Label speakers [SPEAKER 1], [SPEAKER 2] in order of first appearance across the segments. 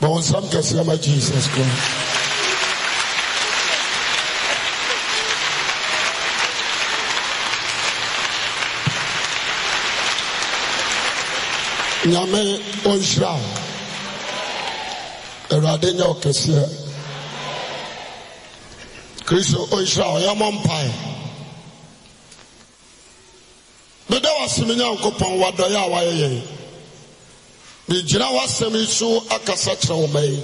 [SPEAKER 1] ma wɔn nsam kɛseɛ ma jesus christ nyame ɔnhyira wo awurade nyɛ wo kɛseɛ kristo ɔnhyira wo ɔyɛ mɔ mpae meda wasɛm nyankopɔn wadɔyɛ a wayɛ yɛn megyina w'asɛm yi so akasa kyerɛ wo ma yi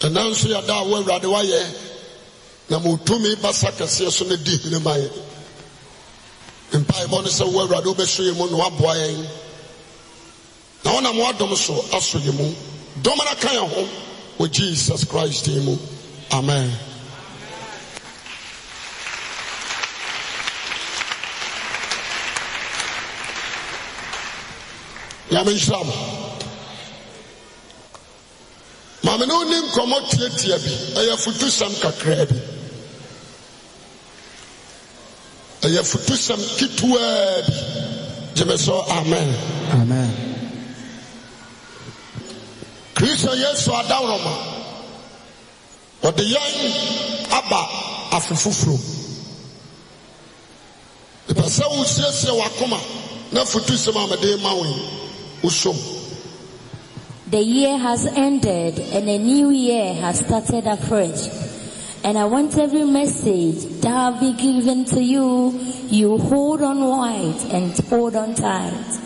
[SPEAKER 1] ɛna nso yɛda a wo awurade wayɛ na ma ɔtumi basa kɛseɛ so no di hene ma yɛ mpaebɔ no sɛ wo awurade wobɛso yɛ mu na woaboa yɛn na wonam woadom so aso yɛ mu dɔm no ka yɛ ho wɔ jesus christ yi mu amen nyame nhyira mo maame ne woni nkɔmmɔ tiatia bi ɛyɛ fotusɛm kakraa bi ɛyɛ fotusɛm ketewaa bi gyeme so amen
[SPEAKER 2] Amen.
[SPEAKER 1] kristo yesu adaworoma ɔde yɛn aba afe foforo ɛpɛ sɛ wosiesie wakoma na fotusɛm a mede ma wo yi wosom
[SPEAKER 3] The year has ended and a new year has started afresh. And I want every message that will be given to you, you hold on wide and hold on tight.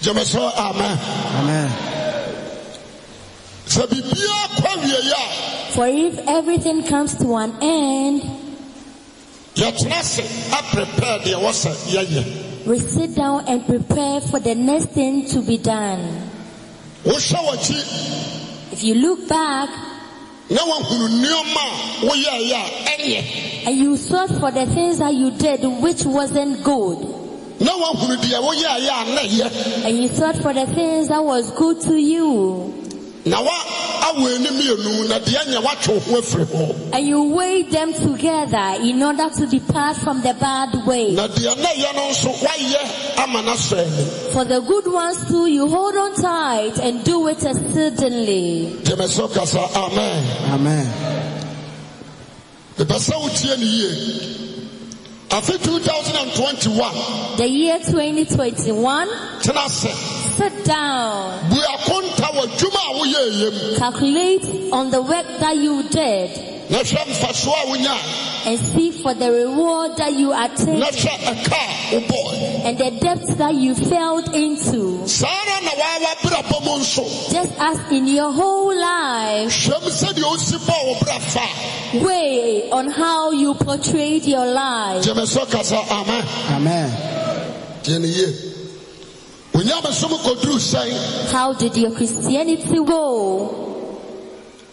[SPEAKER 1] gyeme so amen
[SPEAKER 2] Amen.
[SPEAKER 1] sɛ biribiaa kɔ wieyi a
[SPEAKER 3] For if everything comes to an end,
[SPEAKER 1] yɛtena se aprepare deɛ ɛwɔ sɛ yɛyɛ
[SPEAKER 3] we sit down and prepare for the next thing to be done.
[SPEAKER 1] wohwɛ w'akyi
[SPEAKER 3] If you look back
[SPEAKER 1] na woahunu nneɔma a woyɛɛyɛ a ɛnyɛ
[SPEAKER 3] and you sought for the things that you did which wasn't good,
[SPEAKER 1] na woahunu deɛ woyɛɛyɛ a na ɛyɛ
[SPEAKER 3] and you sought for the things that was good to you,
[SPEAKER 1] na wa awo anim mmienu na deɛ nyɛ woatwe wo ho afiri hɔ
[SPEAKER 3] And you weigh them together in order to depart from the bad way.
[SPEAKER 1] na deɛ na ɛyɛ no nso woayɛ ama no asɔ ani
[SPEAKER 3] For the good ones too, you hold on tight and do it exceedingly.
[SPEAKER 1] gyeme sɛ kasa amen
[SPEAKER 2] Amen.
[SPEAKER 1] mepɛ sɛ wotie ne yie afe 2021
[SPEAKER 3] The year 2021,
[SPEAKER 1] tena sɛ
[SPEAKER 3] sit down,
[SPEAKER 1] bue akonta wɔ adwuma a woyɛɛyɛ
[SPEAKER 3] calculate on the work that you did,
[SPEAKER 1] mu na hwɛ mfasoɔ a wonya
[SPEAKER 3] and see for the reward that you
[SPEAKER 1] na
[SPEAKER 3] attained
[SPEAKER 1] hwɛ ɛka a wobɔe
[SPEAKER 3] and the depth that you fell into.
[SPEAKER 1] saa ara na waawa brabɔ mu nso
[SPEAKER 3] Just as in your whole life,
[SPEAKER 1] hwɛm sɛdeɛ osi bɔɔ wo bra fa a.
[SPEAKER 3] weigh on how you portrayed your life.
[SPEAKER 1] gyeme sɛ kasa amen
[SPEAKER 2] Amen.
[SPEAKER 1] tie ne yie onyamesom kɔduru sɛn
[SPEAKER 3] How did your Christianity go?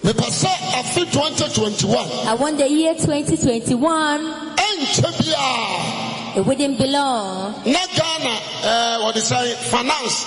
[SPEAKER 1] mepɛ sɛ afe 2021
[SPEAKER 3] I want the year 2021,
[SPEAKER 1] ɛnkyɛ biaa
[SPEAKER 3] it wouldn't be long.
[SPEAKER 1] na eh, ghana ɛɛ, wɔde sɛ finance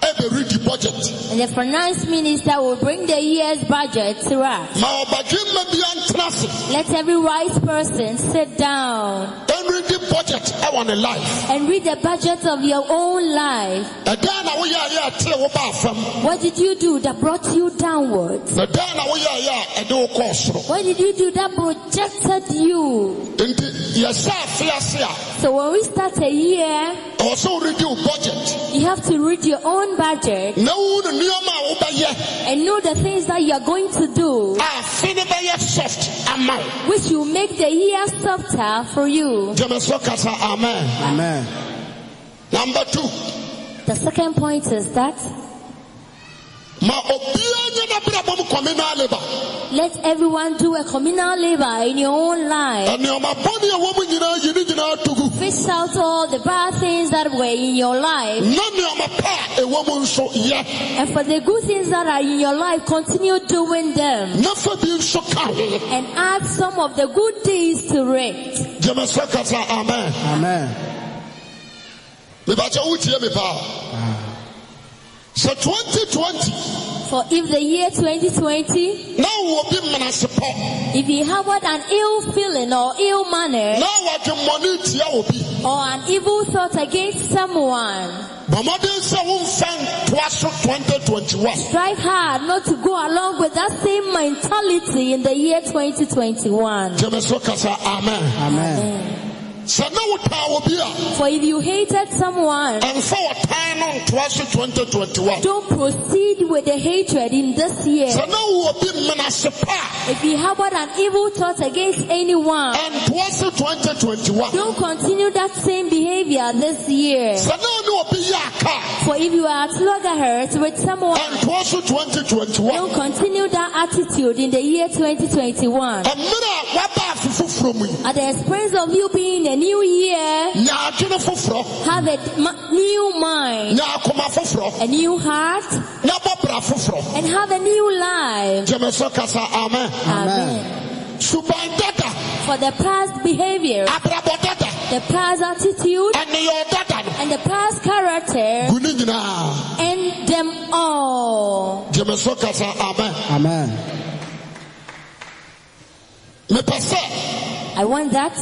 [SPEAKER 1] ɛbɛredi budget
[SPEAKER 3] And the finance minister will bring the year's budget to us.
[SPEAKER 1] ma ɔbadwemma bia ntena se
[SPEAKER 3] Let every wise person sit down
[SPEAKER 1] ɛredi budget ɛwɔ ne life
[SPEAKER 3] and read the budget of your own life.
[SPEAKER 1] ɛdan na woyɛayɛ a tee wo baa fam
[SPEAKER 3] What did you do that brought you downwards?
[SPEAKER 1] na dan na woyɛayɛ a ɛde wo kɔɔ soro
[SPEAKER 3] What did you do that projected you?
[SPEAKER 1] enti yɛsɛ afe ase a
[SPEAKER 3] So when we start a year,
[SPEAKER 1] ɛwɔ sɛ woredi wo budget
[SPEAKER 3] you have to read your own budget
[SPEAKER 1] na wowu ne nneɔma a wobɛyɛ
[SPEAKER 3] and know the things that you are going to do.
[SPEAKER 1] a afe ne bɛyɛ soft ama wo
[SPEAKER 3] which will make the year softer for you.
[SPEAKER 1] gyeme so kasa amen
[SPEAKER 2] Amen.
[SPEAKER 1] number two
[SPEAKER 3] The second point is that
[SPEAKER 1] ma obiara nyɛ n'abrabɔ mu kɔme na aleba
[SPEAKER 3] let everyone do a communal labor in your own life.
[SPEAKER 1] nneɛma bɔne a wɔm nyinaa yi ne nyinaa tugu
[SPEAKER 3] Fish out all the bad things that were in your life.
[SPEAKER 1] na nneɛma pa a ɛwɔ mu nso yɛ
[SPEAKER 3] And for the good things that are in your life, continue doing them.
[SPEAKER 1] na fa bi nso ka ho
[SPEAKER 3] And add some of the good deeds to it.
[SPEAKER 1] gyeme sɛ kasa amen
[SPEAKER 2] Amen.
[SPEAKER 1] mebakyɛ wotie me paa sɛ 2020
[SPEAKER 3] For if the year 2020,
[SPEAKER 1] na wowɔ bi menasepɔ
[SPEAKER 3] if you harbored an ill feeling or ill manner
[SPEAKER 1] na wɔdwe mmɔne tia wɔ bi
[SPEAKER 3] or an evil thought against someone,
[SPEAKER 1] bɔmmɔden sɛ womfa ntoa so 2021
[SPEAKER 3] Strive hard not to go along with that same mentality in the year 2021.
[SPEAKER 1] gyeme so kasa amen
[SPEAKER 2] Amen.
[SPEAKER 1] sɛ na wotaa wɔ bi a
[SPEAKER 3] For if you hated someone,
[SPEAKER 1] ɛmfa wɔtan no ntoa so 2021
[SPEAKER 3] don't proceed with the hatred in this year.
[SPEAKER 1] sɛ na wowɔ bi mmena se pa
[SPEAKER 3] If you harbored an evil thought against
[SPEAKER 1] a
[SPEAKER 3] anyone,
[SPEAKER 1] ɛntoa so 2021
[SPEAKER 3] don't continue that same behavior this year.
[SPEAKER 1] sɛ na ne obi yɛ aka
[SPEAKER 3] For if you are at loggerheads with
[SPEAKER 1] a
[SPEAKER 3] someone,
[SPEAKER 1] ɛntoa so 2021
[SPEAKER 3] don't continue that attitude in the year 2021.
[SPEAKER 1] ɛmmerɛ a waba afe foforɔ mu yi
[SPEAKER 3] At the expense of you being a new year,
[SPEAKER 1] nya adwene foforɔ
[SPEAKER 3] have a d- ma- new mind,
[SPEAKER 1] nya akoma foforɔ
[SPEAKER 3] a new heart,
[SPEAKER 1] na bɔbra foforɔ
[SPEAKER 3] and have a new life.
[SPEAKER 1] gyeme so kasa amen
[SPEAKER 3] Amen.
[SPEAKER 1] suban dada
[SPEAKER 3] For the past behavior,
[SPEAKER 1] abrabɔ dada
[SPEAKER 3] the past attitude,
[SPEAKER 1] ɛneyɛ dada no
[SPEAKER 3] and the past character,
[SPEAKER 1] gu ne nyinaa
[SPEAKER 3] end them all.
[SPEAKER 1] gyeme so kasa amen
[SPEAKER 2] Amen.
[SPEAKER 1] mepɛ sɛ
[SPEAKER 3] I want that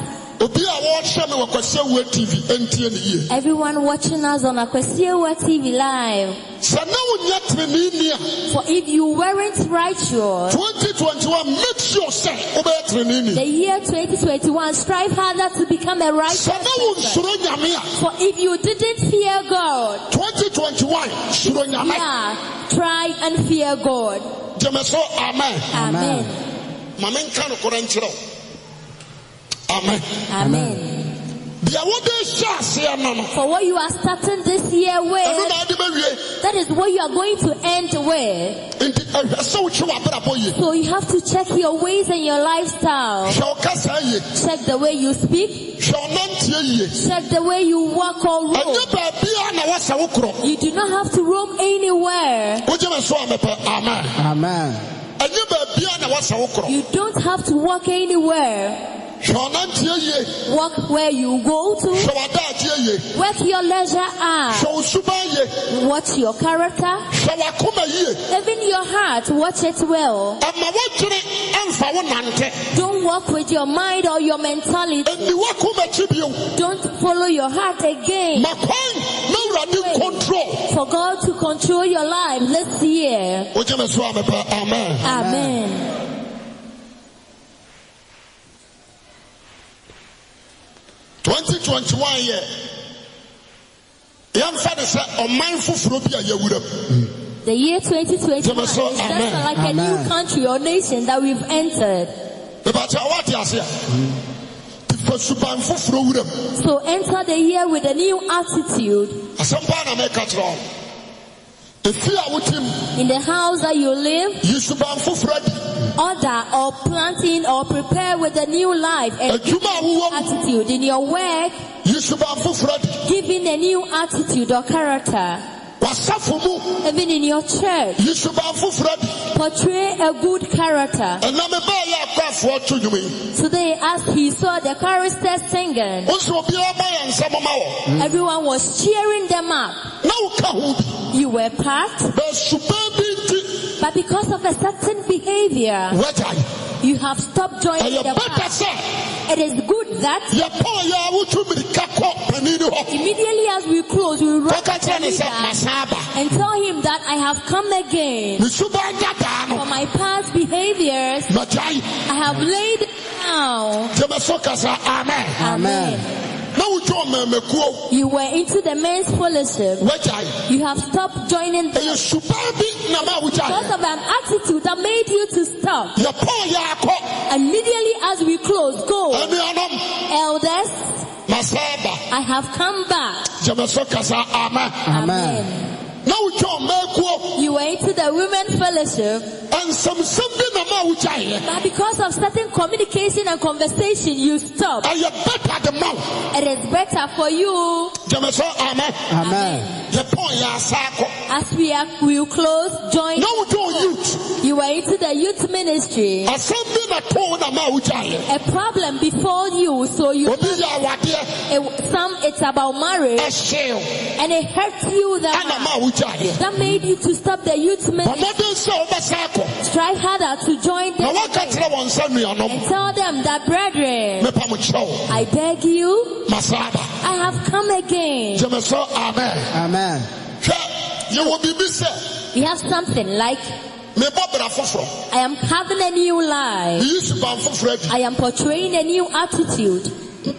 [SPEAKER 1] obi a wɔhyɛ me wɔ kwasea wua tv ɛntie ne yie
[SPEAKER 3] everyone watching us on Akwesiewa TV live,
[SPEAKER 1] sɛ na wonya tereneeni
[SPEAKER 3] for if you weren't
[SPEAKER 1] a
[SPEAKER 3] righteous,
[SPEAKER 1] 2021 make sure sɛ wobɛyɛ
[SPEAKER 3] the
[SPEAKER 1] tereneeni
[SPEAKER 3] year 2021, strive harder to become a righteous
[SPEAKER 1] sɛ na
[SPEAKER 3] person.
[SPEAKER 1] wonsuro nyame a
[SPEAKER 3] For if you didn't fear God,
[SPEAKER 1] 2021 suro nyame
[SPEAKER 3] yeah, try and fear God.
[SPEAKER 1] gyeme so amen
[SPEAKER 3] Amen.
[SPEAKER 1] ma menka nokorɛ nkyerɛ wo amen
[SPEAKER 3] Amen.
[SPEAKER 1] deɛ wode hyɛ aseɛ no no
[SPEAKER 3] For what you are starting this year
[SPEAKER 1] ɛno
[SPEAKER 3] with,
[SPEAKER 1] na ade bɛwie
[SPEAKER 3] that is what you are going to end with.
[SPEAKER 1] nti ɛhwɛ sɛ wokye w'abrabɔ yie
[SPEAKER 3] So you have to check your ways and your lifestyle.
[SPEAKER 1] hwɛ wo kasa yie
[SPEAKER 3] Check the way you speak.
[SPEAKER 1] hwɛ wo nanteɛ yie
[SPEAKER 3] Check the way you walk or walk.
[SPEAKER 1] ɛnyɛ baabia na woasa wo korɔ
[SPEAKER 3] You do not have to roam anywhere.
[SPEAKER 1] wogye me so a mepɛ amen
[SPEAKER 2] Amen.
[SPEAKER 1] ɛnyɛ baabia na woasa wo korɔ
[SPEAKER 3] You don't have to walk anywhere.
[SPEAKER 1] hwɛ wo nanteɛ yie
[SPEAKER 3] Walk where you go to.
[SPEAKER 1] hwɛ w'adaadeɛ yie
[SPEAKER 3] Work your leisure hour.
[SPEAKER 1] hwɛ wo suban yie
[SPEAKER 3] Watch your character.
[SPEAKER 1] hwɛ w'akoma yie
[SPEAKER 3] Even your heart, watch it well.
[SPEAKER 1] ɛma wodwene ɛmfa wo nante
[SPEAKER 3] Don't walk with your mind or your mentality.
[SPEAKER 1] ɛni w'akoma akyi bio
[SPEAKER 3] Don't follow your heart again.
[SPEAKER 1] ma kwan na wurade nkontrol
[SPEAKER 3] For God to control your life this year.
[SPEAKER 1] wogye me so a mepɛ amen
[SPEAKER 3] Amen.
[SPEAKER 1] twenty twenty one yɛ yɛmfa ne sɛ ɔman foforɔ bi a yɛwura mu
[SPEAKER 3] The year 2021
[SPEAKER 1] Jẹ́mi
[SPEAKER 3] is
[SPEAKER 1] sọ
[SPEAKER 3] just
[SPEAKER 1] amen.
[SPEAKER 3] like a new
[SPEAKER 2] Amen.
[SPEAKER 3] country or nation that we've entered.
[SPEAKER 1] mebakyɛ woate ase a tifa suban foforɔ wura mu
[SPEAKER 3] So enter the year with a new attitude.
[SPEAKER 1] asɛm paa na mɛka kyerɛ wo ɛfi a wotim
[SPEAKER 3] in the house that you live,
[SPEAKER 1] yi suban foforɔ adi
[SPEAKER 3] order or planting or prepare with a new life and
[SPEAKER 1] adwuma a wowɔ mu
[SPEAKER 3] attitude. In your work,
[SPEAKER 1] yi suban foforɔ adi
[SPEAKER 3] giving a new attitude or character.
[SPEAKER 1] wasafo mu
[SPEAKER 3] Even in your church,
[SPEAKER 1] yi suban foforɔ adi
[SPEAKER 3] portray a good character.
[SPEAKER 1] ɛna mebaa yɛ akɔafoɔ to nnwuma yi
[SPEAKER 3] Today, as he saw the choristers singing,
[SPEAKER 1] wo sɛ obiara ma yɛ nsɛm ma wɔ
[SPEAKER 3] everyone was cheering them up.
[SPEAKER 1] na woka ho bi
[SPEAKER 3] You were part,
[SPEAKER 1] bɛsuban bi nti
[SPEAKER 3] but because of a certain behavior,
[SPEAKER 1] wagyae
[SPEAKER 3] you have stopped joining
[SPEAKER 1] ɛyɛ
[SPEAKER 3] the
[SPEAKER 1] bɛta
[SPEAKER 3] path.
[SPEAKER 1] sɛ
[SPEAKER 3] It is good that
[SPEAKER 1] yɛpɔɔ yɛ a wotu mirika kɔ pani no hɔ
[SPEAKER 3] immediately as we close, we run
[SPEAKER 1] kɔka
[SPEAKER 3] to
[SPEAKER 1] kyerɛ
[SPEAKER 3] the
[SPEAKER 1] ne sɛ
[SPEAKER 3] leader
[SPEAKER 1] masan aba
[SPEAKER 3] and tell him that I have come again
[SPEAKER 1] me suban dadaa
[SPEAKER 3] for
[SPEAKER 1] no
[SPEAKER 3] my past behaviors.
[SPEAKER 1] magyae
[SPEAKER 3] I have laid it down.
[SPEAKER 1] gyeme so kasa amen
[SPEAKER 2] Amen.
[SPEAKER 1] na wotwa ɔmamakuo
[SPEAKER 3] You were into the men's fellowship.
[SPEAKER 1] wagyae
[SPEAKER 3] You have stopped joining them
[SPEAKER 1] ɛyɛ suban bi na ma
[SPEAKER 3] because
[SPEAKER 1] wogyae
[SPEAKER 3] of an attitude that made you to stop.
[SPEAKER 1] yɛpɔɔ yɛ akɔ
[SPEAKER 3] Immediately as we close, go,
[SPEAKER 1] anuanom
[SPEAKER 3] elders.
[SPEAKER 1] masan aba
[SPEAKER 3] I have come back.
[SPEAKER 1] gyeme so kasa amen
[SPEAKER 2] Amen.
[SPEAKER 1] na wotwa ɔmakuo
[SPEAKER 3] You were into the women's fellowship,
[SPEAKER 1] ɛnsɛmsɛm bi na ma wogyaeɛ
[SPEAKER 3] but because of certain communication and conversation, you stop.
[SPEAKER 1] ɛyɛ bɛta de ma wo
[SPEAKER 3] It is better for you
[SPEAKER 1] gyeme so amen
[SPEAKER 2] Amen.
[SPEAKER 1] yɛpɔɔ yɛ asa akɔ
[SPEAKER 3] as we are we close. Join.
[SPEAKER 1] na wotwa youth
[SPEAKER 3] You were into the youth ministry.
[SPEAKER 1] asɛm bi na too na ma wogyaeɛ
[SPEAKER 3] A problem before you, so you
[SPEAKER 1] obi yɛ awadeɛ
[SPEAKER 3] it, some it's about marriage
[SPEAKER 1] ɛhyew
[SPEAKER 3] and it hurt you that
[SPEAKER 1] ana ma
[SPEAKER 3] much.
[SPEAKER 1] wogyaeɛ
[SPEAKER 3] that made you to stop the youth minutes.
[SPEAKER 1] ɔmɔden sɛ wobɛsa akɔ
[SPEAKER 3] Strive harder to join
[SPEAKER 1] na
[SPEAKER 3] them
[SPEAKER 1] woaka kyerɛ wɔn nsa
[SPEAKER 3] and
[SPEAKER 1] nnuanom
[SPEAKER 3] tell them that, brethren,
[SPEAKER 1] mepa mo kyerɛ wo
[SPEAKER 3] I beg you,
[SPEAKER 1] masa aba
[SPEAKER 3] I have come again.
[SPEAKER 1] gyeme sɛ amen
[SPEAKER 2] Amen.
[SPEAKER 1] hwɛ yɛwɔ biribi sɛ
[SPEAKER 3] We have something like,
[SPEAKER 1] mebɔ bra foforɔ
[SPEAKER 3] I am having a new life.
[SPEAKER 1] meyi suban foforɔ adi
[SPEAKER 3] I am portraying a new attitude.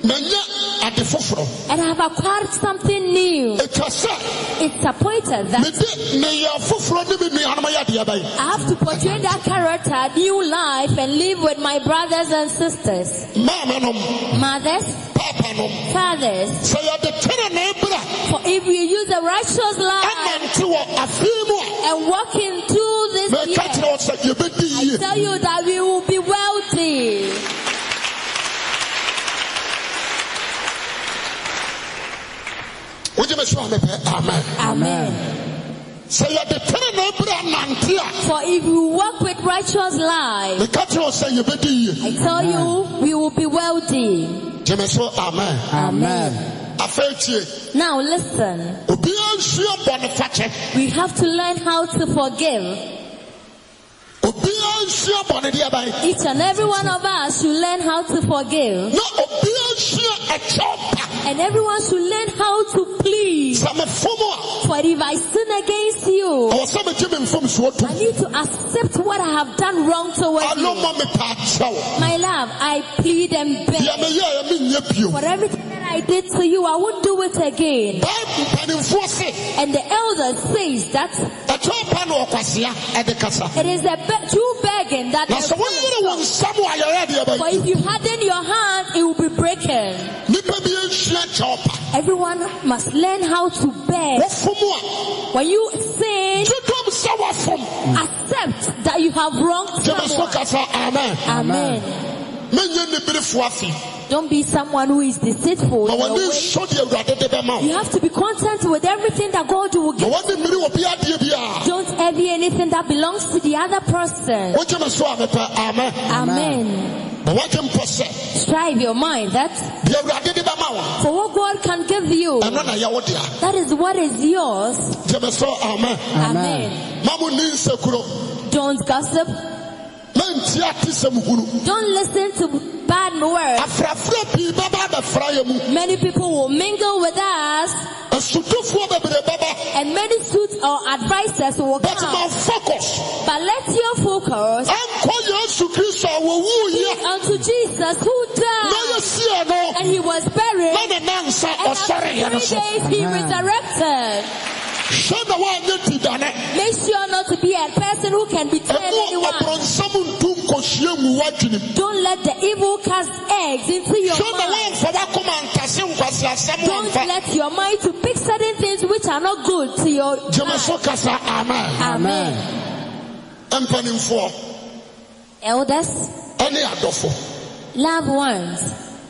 [SPEAKER 1] manya ade foforɔ
[SPEAKER 3] And I have acquired something new.
[SPEAKER 1] ɛtwa sɛ
[SPEAKER 3] It's appointed that
[SPEAKER 1] mede meyɛ foforɔ ne me nuanom yɛ adeɛ bɛyɛ
[SPEAKER 3] I have to portray that character, new life, and live with my brothers and sisters.
[SPEAKER 1] maamanom
[SPEAKER 3] Mothers,
[SPEAKER 1] paapanom
[SPEAKER 3] fathers,
[SPEAKER 1] sɛ yɛde tenenee bra
[SPEAKER 3] for if you use a righteous life
[SPEAKER 1] amante wɔ afei mu a
[SPEAKER 3] and walk into this
[SPEAKER 1] meka
[SPEAKER 3] year,
[SPEAKER 1] kyerɛ wo sɛ yɛbɛdi
[SPEAKER 3] I
[SPEAKER 1] yie
[SPEAKER 3] tell you that we will be wealthy.
[SPEAKER 1] wogye me sɛ mepɛ amen
[SPEAKER 3] Amen.
[SPEAKER 1] sɛ yɛde tenenee bra nante a
[SPEAKER 3] For if you walk with righteous life,
[SPEAKER 1] meka kyerɛ wo sɛ yɛbɛdi yie
[SPEAKER 3] I tell you we will be wealthy.
[SPEAKER 1] gye me so amen
[SPEAKER 2] Amen.
[SPEAKER 1] afei tie
[SPEAKER 3] Now listen,
[SPEAKER 1] obiara nsua bɔnefakyɛ
[SPEAKER 3] we have to learn how to forgive.
[SPEAKER 1] obiara nsua bɔnedeɛ bɛn
[SPEAKER 3] Each and every one of us should learn how to forgive.
[SPEAKER 1] na obiara nsua ɛkyɛw pa
[SPEAKER 3] And everyone should learn how to please.
[SPEAKER 1] sɛ mefom a
[SPEAKER 3] For if I sin against you,
[SPEAKER 1] ɛwɔ sɛ megye me mfomsoɔ tom
[SPEAKER 3] I need to accept what I have done wrong towards you.
[SPEAKER 1] anoma mepɛ akyɛw
[SPEAKER 3] My love, I plead and
[SPEAKER 1] deɛ
[SPEAKER 3] beg.
[SPEAKER 1] meyɛɛ menyɛ bio
[SPEAKER 3] For everything that I did to you, I won't do it again.
[SPEAKER 1] bible mpanimfoɔ se
[SPEAKER 3] And the elder says that
[SPEAKER 1] ɛkyɛw pa na ɔkwasea ɛde kasa
[SPEAKER 3] it is a be- true begging that.
[SPEAKER 1] na sɛ woyere wo nsam a yɛyɛ deɛ
[SPEAKER 3] For
[SPEAKER 1] bɛn
[SPEAKER 3] if you harden your hand, it will be broken.
[SPEAKER 1] nnipa bi nsua kyɛw pa
[SPEAKER 3] Everyone must learn how to beg.
[SPEAKER 1] wɔfom
[SPEAKER 3] When you
[SPEAKER 1] a
[SPEAKER 3] sin,
[SPEAKER 1] tutom sɛ wɔfom
[SPEAKER 3] accept that you have wronged
[SPEAKER 1] gye me so
[SPEAKER 3] someone.
[SPEAKER 1] kasa amen
[SPEAKER 3] Amen.
[SPEAKER 1] menyɛ niberefoɔ afe
[SPEAKER 3] Don't be someone who is deceitful.
[SPEAKER 1] ma
[SPEAKER 3] in your
[SPEAKER 1] wɔne
[SPEAKER 3] ways.
[SPEAKER 1] nsɔ deɛ awurade de bɛma wo
[SPEAKER 3] You have to be content with everything that God will
[SPEAKER 1] na
[SPEAKER 3] give.
[SPEAKER 1] wɔne mmiri wɔ bi adeɛ bi a
[SPEAKER 3] Don't envy anything that belongs to the other person.
[SPEAKER 1] wogye me so a mepɛ amen
[SPEAKER 3] Amen.
[SPEAKER 1] na wɔgye mpɔ sɛ
[SPEAKER 3] Strive your mind that
[SPEAKER 1] deɛ awurade de bɛma wo
[SPEAKER 3] for what God can give you,
[SPEAKER 1] ɛno na yɛwo dea
[SPEAKER 3] that is what is yours.
[SPEAKER 1] gye me so amen
[SPEAKER 2] Amen.
[SPEAKER 3] Amen.
[SPEAKER 1] ma mo ni nsekuro
[SPEAKER 3] Don't gossip.
[SPEAKER 1] mɛnti ate sɛm hunu
[SPEAKER 3] Don't listen to bad words.
[SPEAKER 1] afrafra pii bɛba abɛfra yɛ mu
[SPEAKER 3] Many people will mingle with us
[SPEAKER 1] asutofoɔ bebree bɛba
[SPEAKER 3] and many suits or advisors will
[SPEAKER 1] but ma
[SPEAKER 3] come.
[SPEAKER 1] focus
[SPEAKER 3] But let your focus
[SPEAKER 1] ankɔ yesu kristo a
[SPEAKER 3] be
[SPEAKER 1] wɔwuiɛ
[SPEAKER 3] unto Jesus who
[SPEAKER 1] na
[SPEAKER 3] died
[SPEAKER 1] yɛsiɛ no
[SPEAKER 3] and he was buried.
[SPEAKER 1] na ne nansa
[SPEAKER 3] And after
[SPEAKER 1] ɔsɔreeɛ no so
[SPEAKER 3] three days he
[SPEAKER 2] Amen.
[SPEAKER 3] resurrected.
[SPEAKER 1] hwɛ na woanyɛ ti dane
[SPEAKER 3] Make sure not to be a person who can betray
[SPEAKER 1] ɛmu
[SPEAKER 3] anyone.
[SPEAKER 1] ɔborɔnsam ntum nkɔhyia mu w'adwenem
[SPEAKER 3] Don't let the evil cast eggs into your
[SPEAKER 1] hwɛ na
[SPEAKER 3] mind.
[SPEAKER 1] woamfa w'akoma ntase nkwaseasɛm
[SPEAKER 3] Don't
[SPEAKER 1] amfa
[SPEAKER 3] let your mind to pick certain things which are not good to your
[SPEAKER 1] gyeme
[SPEAKER 3] mind.
[SPEAKER 1] so kasa amen
[SPEAKER 3] Amen.
[SPEAKER 1] mpanimfoɔ
[SPEAKER 3] Elders,
[SPEAKER 1] ɛne adɔfo
[SPEAKER 3] loved ones,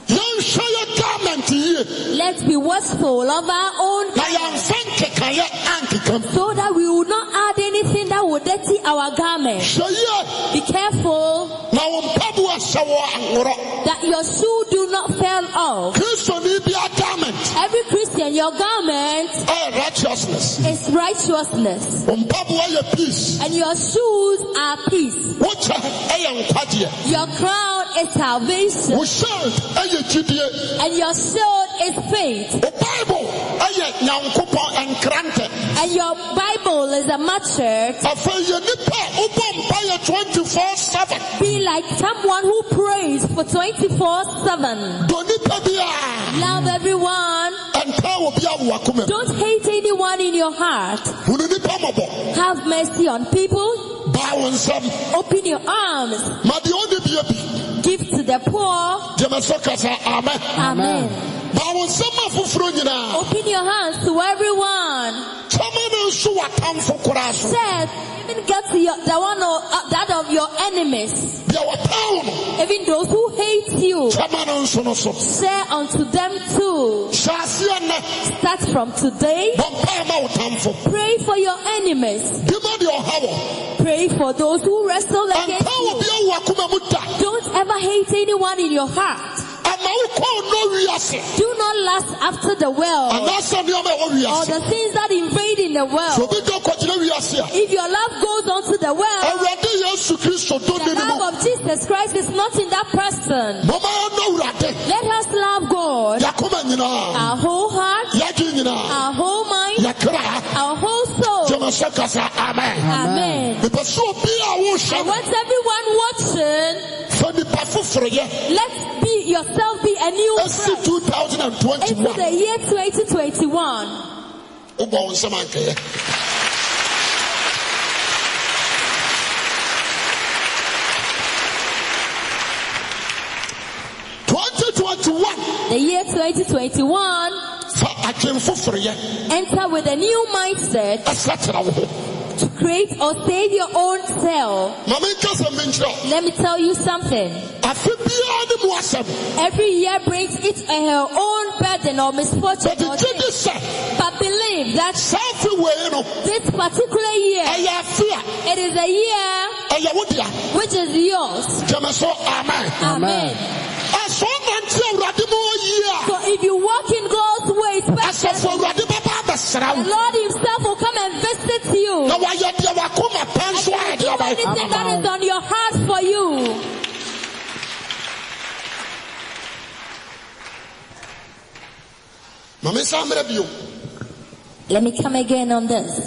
[SPEAKER 1] yɛnhwɛ yɛ garment yie
[SPEAKER 3] let's be watchful of our own
[SPEAKER 1] na yɛamfa nkekayɛ ankekam
[SPEAKER 3] so that we will not add anything that will dirty our garment.
[SPEAKER 1] hwɛ yie
[SPEAKER 3] Be careful
[SPEAKER 1] na wo mpaboa hyɛ wɔ anworɔ
[SPEAKER 3] that your shoe do not fall off.
[SPEAKER 1] kristoni bia garment
[SPEAKER 3] Every Christian, your garment
[SPEAKER 1] ɛyɛ Eh, righteousness
[SPEAKER 3] is righteousness.
[SPEAKER 1] wo mpaboa yɛ peace eh,
[SPEAKER 3] and your shoes are peace.
[SPEAKER 1] wo kyɛ ɛyɛ nkwagyeɛ
[SPEAKER 3] Your crown is salvation,
[SPEAKER 1] wo shield ɛyɛ eh, gyidie
[SPEAKER 3] and your shield is faith,
[SPEAKER 1] wo bible ɛyɛ nyankopɔn nkrantɛ
[SPEAKER 3] and your Bible is a matchet.
[SPEAKER 1] afei yɛ nipa a wobɔ mpayɛ 24 7
[SPEAKER 3] Be like someone who prays for 24-7.
[SPEAKER 1] dɔ nipa biaa
[SPEAKER 3] Love everyone.
[SPEAKER 1] ɛntaa wɔ bia wo wakoma mu
[SPEAKER 3] Don't hate anyone in your heart.
[SPEAKER 1] hunu nipa mmɔbɔ
[SPEAKER 3] Have mercy on people.
[SPEAKER 1] baa wo nsɛm
[SPEAKER 3] Open your arms.
[SPEAKER 1] ma deɛ ɔde bia bi
[SPEAKER 3] Give to the poor.
[SPEAKER 1] gyeme so kasa amɛ
[SPEAKER 3] Amen.
[SPEAKER 1] baa wo nsɛm a foforɔ nyinaa
[SPEAKER 3] Open your hands to everyone.
[SPEAKER 1] kyɛma no nso w'atamfo koraa so
[SPEAKER 3] Said, even get to your, the one of, uh, that of your enemies.
[SPEAKER 1] deɛ wɔtaa wo no
[SPEAKER 3] Even those who hate you,
[SPEAKER 1] kyɛma no nso no so
[SPEAKER 3] say unto them too.
[SPEAKER 1] hyɛ aseɛ nnɛ
[SPEAKER 3] Start from today.
[SPEAKER 1] bɔ mpae ma wo tamfo
[SPEAKER 3] Pray for your enemies.
[SPEAKER 1] di ma deɛ ɔha wɔ
[SPEAKER 3] Pray for those who wrestle against
[SPEAKER 1] ɛntaa wɔ
[SPEAKER 3] you.
[SPEAKER 1] bia wo wakoma mu da
[SPEAKER 3] Don't ever hate anyone in your heart.
[SPEAKER 1] ama wokɔɔ no wiase
[SPEAKER 3] Do not lust after the world
[SPEAKER 1] anaasɛ nneɔma ɛwɔ
[SPEAKER 3] or
[SPEAKER 1] wiase
[SPEAKER 3] the things that invade in the
[SPEAKER 1] sɛ
[SPEAKER 3] world.
[SPEAKER 1] obi dɔ kɔgyina wiase a
[SPEAKER 3] If your love goes on to the world,
[SPEAKER 1] awurade yesu kristo
[SPEAKER 3] the
[SPEAKER 1] dɔnni no mu
[SPEAKER 3] love of Jesus Christ is not in that person.
[SPEAKER 1] mɔma yɛnɔ awurade
[SPEAKER 3] Let us love God,
[SPEAKER 1] yɛakoma nyinaa
[SPEAKER 3] our whole heart,
[SPEAKER 1] yɛadwe nyinaa
[SPEAKER 3] our whole mind,
[SPEAKER 1] yɛkra
[SPEAKER 3] our whole soul.
[SPEAKER 1] gyama sɛ kasa amen
[SPEAKER 3] Amen.
[SPEAKER 1] mepɛ sɛ obi a
[SPEAKER 3] I
[SPEAKER 1] wohyɛ
[SPEAKER 3] want everyone watching,
[SPEAKER 1] fa nnipa foforɔyɛ
[SPEAKER 3] let's be yourself be a new
[SPEAKER 1] asi
[SPEAKER 3] person. Into
[SPEAKER 1] 2021
[SPEAKER 3] the year 2021,
[SPEAKER 1] wobɔ wo nsɛm ankɛyɛ twenty twenty one
[SPEAKER 3] the year 2021,
[SPEAKER 1] fa atwem foforɔyɛ
[SPEAKER 3] enter with a new mindset
[SPEAKER 1] ɛsɛtera wo ho
[SPEAKER 3] to create or save your own self.
[SPEAKER 1] ma menka sɛm bi nkyerɛ wo
[SPEAKER 3] Let me tell you something.
[SPEAKER 1] afe biara ne mu asɛm
[SPEAKER 3] Every year brings its or her own burden or misfortune
[SPEAKER 1] bɛde
[SPEAKER 3] or
[SPEAKER 1] gye di
[SPEAKER 3] thing.
[SPEAKER 1] sɛ
[SPEAKER 3] But believe that
[SPEAKER 1] saa afe wei no
[SPEAKER 3] this particular year,
[SPEAKER 1] ɛyɛ afe a
[SPEAKER 3] it is a year
[SPEAKER 1] ɛyɛ wo dea
[SPEAKER 3] which is yours.
[SPEAKER 1] gyeme so amen
[SPEAKER 3] Amen.
[SPEAKER 1] ɛso nante awurade ma ɔyie
[SPEAKER 3] So if you walk in God's ways,
[SPEAKER 1] a asɛfo awurade bɛba abɛsra
[SPEAKER 3] the
[SPEAKER 1] wo
[SPEAKER 3] Lord himself will come and visit you.
[SPEAKER 1] na wayɛ deɛ wakoma pɛ
[SPEAKER 3] And
[SPEAKER 1] nso ayɛ
[SPEAKER 3] do
[SPEAKER 1] deɛ ɔbɛyɛ
[SPEAKER 3] anything that is on your heart for you.
[SPEAKER 1] ma mensa mmerɛ bio
[SPEAKER 3] Let me come again on this.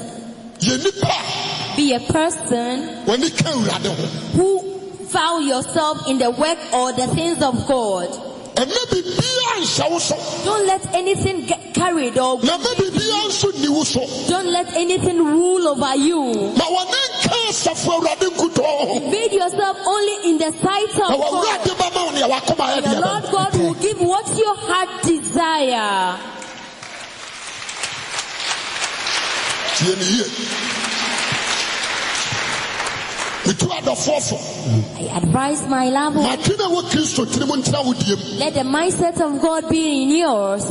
[SPEAKER 1] yɛ nnipa
[SPEAKER 3] Be a person
[SPEAKER 1] a w'ani ka awurade ho
[SPEAKER 3] who found yourself in the work or the things of God.
[SPEAKER 1] ɛma biribiaa nhyɛ wo so
[SPEAKER 3] Don't let anything get carried or
[SPEAKER 1] na ma biribiaa nso nni wo so
[SPEAKER 3] Don't let anything rule over you.
[SPEAKER 1] ma wɔne nka asɛfo awurade nkutɔɔ ho
[SPEAKER 3] Feed yourself only in the sight of
[SPEAKER 1] na wɔwurade
[SPEAKER 3] God.
[SPEAKER 1] bɛma wo nea wakoma ayɛ
[SPEAKER 3] The
[SPEAKER 1] deɛ
[SPEAKER 3] Lord
[SPEAKER 1] ɛbɛyɛ.
[SPEAKER 3] God will give what your heart desire.
[SPEAKER 1] tie me yie metu adɔfoɔ fo
[SPEAKER 3] I advise my love,
[SPEAKER 1] matwe na ɛwɔ kristo tirim ntena wo diem
[SPEAKER 3] let the mindset of God be in yours.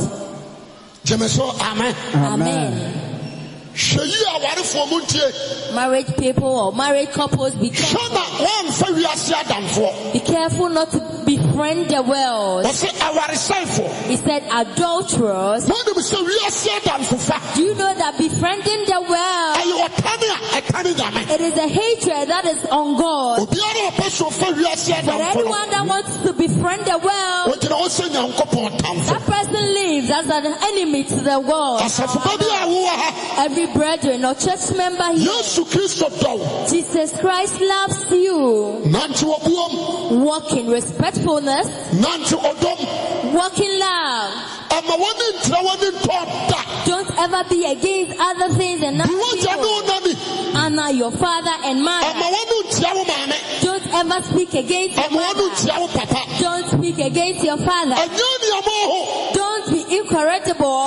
[SPEAKER 1] gyeme sɛ amen
[SPEAKER 3] Amen.
[SPEAKER 1] hwɛ yie awarefoɔ mu ntie
[SPEAKER 3] Married people or married couples, be
[SPEAKER 1] hwɛ
[SPEAKER 3] careful,
[SPEAKER 1] na wɔamfa wiase adamfoɔ
[SPEAKER 3] be careful not to befriend the world.
[SPEAKER 1] wɔse awaresɛefoɔ
[SPEAKER 3] He said, adulterers.
[SPEAKER 1] monim sɛ wiase adamfofa
[SPEAKER 3] Do you know that befriending the world,
[SPEAKER 1] ɛyɛ ɔtane a ɛtane nyame
[SPEAKER 3] it is a hatred that is on God.
[SPEAKER 1] obiara a ɔpɛ so ɔfa wiase
[SPEAKER 3] But
[SPEAKER 1] adamfo no
[SPEAKER 3] anyone that wants to befriend the world,
[SPEAKER 1] wogyina wo sɛ nyankopɔn tamfo
[SPEAKER 3] That person lives as an enemy to the world.
[SPEAKER 1] asafoba bi a wowɔ ha
[SPEAKER 3] Every brethren or church member here,
[SPEAKER 1] yesu kristo dɔ wo
[SPEAKER 3] Jesus Christ loves you.
[SPEAKER 1] nante wɔbuom
[SPEAKER 3] Walk in respectfulness,
[SPEAKER 1] nante ɔdɔm
[SPEAKER 3] walk in love.
[SPEAKER 1] ama wɔne ntira wɔne ntɔn da
[SPEAKER 3] Don't ever be against other things and not
[SPEAKER 1] bi wogya ne
[SPEAKER 3] people.
[SPEAKER 1] wo nani
[SPEAKER 3] Honor your father and
[SPEAKER 1] ama
[SPEAKER 3] mother.
[SPEAKER 1] wɔne ntia wo maame
[SPEAKER 3] Don't ever speak against your
[SPEAKER 1] ama wɔne
[SPEAKER 3] mother.
[SPEAKER 1] ntia wo papa
[SPEAKER 3] Don't speak against your father.
[SPEAKER 1] ɛnyɛ nneɛma ho
[SPEAKER 3] Don't be incorrigible.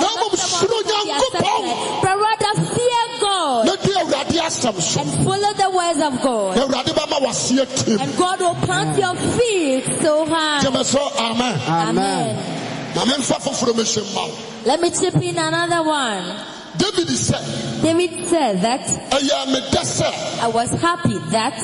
[SPEAKER 1] Na
[SPEAKER 3] Not
[SPEAKER 1] mmom,
[SPEAKER 3] someone who
[SPEAKER 1] suro
[SPEAKER 3] can be
[SPEAKER 1] Nyankopɔn.
[SPEAKER 3] accepted, But rather fear God
[SPEAKER 1] na di awurade asɛm so
[SPEAKER 3] and follow the words of God.
[SPEAKER 1] na awurade bɛma waseɛ tim
[SPEAKER 3] And God will plant your feet so high.
[SPEAKER 1] gyeme so amen
[SPEAKER 2] Amen.
[SPEAKER 1] na memfa foforɔ mɛhyɛ mma wo
[SPEAKER 3] Let me chip in another one.
[SPEAKER 1] david sɛ
[SPEAKER 3] David said that
[SPEAKER 1] ɛyɛ medɛ sɛ
[SPEAKER 3] I was happy that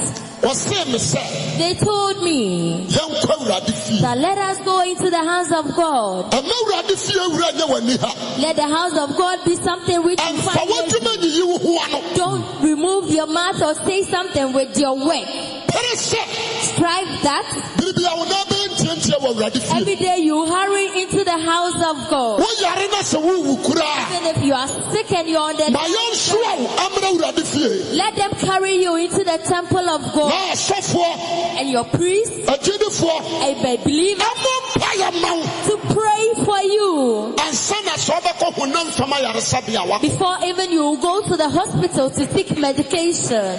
[SPEAKER 1] wɔsee me sɛ
[SPEAKER 3] they told me
[SPEAKER 1] yɛnkɔ awurade fie
[SPEAKER 3] that let us go into the house of God.
[SPEAKER 1] ɛma awurade fie awura nyɛ w'ani ha
[SPEAKER 3] Let the house of God be something which you
[SPEAKER 1] ɛmfa
[SPEAKER 3] find when you
[SPEAKER 1] w'adwuma nyiyi wo ho ano
[SPEAKER 3] don't remove your mouth or say something with your work.
[SPEAKER 1] pere sɛ
[SPEAKER 3] Strive that
[SPEAKER 1] biribia wo na bɛntiantia wɔ awurade fie
[SPEAKER 3] every day you hurry into the house of God.
[SPEAKER 1] woyare na sɛ wowu koraa
[SPEAKER 3] Even if you are sick and you're on the
[SPEAKER 1] ma yɛnsoa wo amena awurade fie
[SPEAKER 3] let them carry you into the temple of God
[SPEAKER 1] na asɔfoɔ
[SPEAKER 3] and your priest
[SPEAKER 1] agyidifoɔ
[SPEAKER 3] a believer
[SPEAKER 1] ɛmɔ mpa yɛ ma wo
[SPEAKER 3] to pray for you
[SPEAKER 1] ansa na sɛ wobɛkɔ honam fam ayaresabea wa
[SPEAKER 3] before even you go to the hospital to seek medication.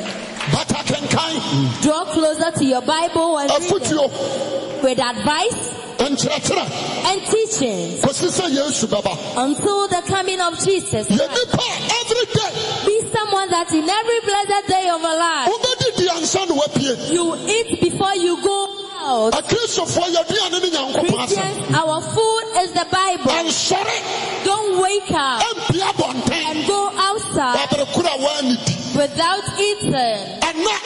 [SPEAKER 1] bata kenkan
[SPEAKER 3] Draw closer to your Bible and read it
[SPEAKER 1] afotuo
[SPEAKER 3] with advice
[SPEAKER 1] nkyerɛkyerɛ
[SPEAKER 3] and teachings
[SPEAKER 1] kɔsi sɛ yesu bɛba
[SPEAKER 3] until the coming of Jesus.
[SPEAKER 1] yɛ nipa a everyday
[SPEAKER 3] Be someone that in every blessed day of our life
[SPEAKER 1] wobɛdidi ansa na woapue
[SPEAKER 3] you eat before you go out.
[SPEAKER 1] akristofoɔ yɛduane ne nyankopɔn asɛm
[SPEAKER 3] Christians, our food is the Bible.
[SPEAKER 1] ansɔre
[SPEAKER 3] Don't wake up
[SPEAKER 1] ampia bɔnten
[SPEAKER 3] and go outside
[SPEAKER 1] waberekoro a woanidi
[SPEAKER 3] without eating.
[SPEAKER 1] ɛna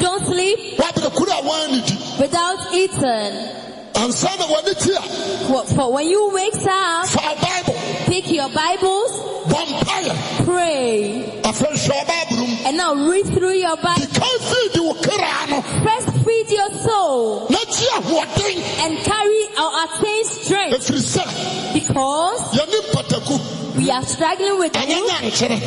[SPEAKER 3] Don't sleep
[SPEAKER 1] waberekoro a woanidi
[SPEAKER 3] without eating.
[SPEAKER 1] ansa na w'ani te a
[SPEAKER 3] For, for when you wakes up,
[SPEAKER 1] fa bible
[SPEAKER 3] pick your Bibles,
[SPEAKER 1] bɔ mpaeɛ
[SPEAKER 3] pray,
[SPEAKER 1] afei hwɛ ɔbaabolo mu
[SPEAKER 3] and now read through your Bible.
[SPEAKER 1] keka fii de wo kra no
[SPEAKER 3] First feed your soul
[SPEAKER 1] na gye ahoɔden
[SPEAKER 3] and carry or attain strength
[SPEAKER 1] ɛfiri sɛ
[SPEAKER 3] because
[SPEAKER 1] yɛne mpataku
[SPEAKER 3] we are struggling with
[SPEAKER 1] ɛnyɛ
[SPEAKER 3] you
[SPEAKER 1] nyankyerɛ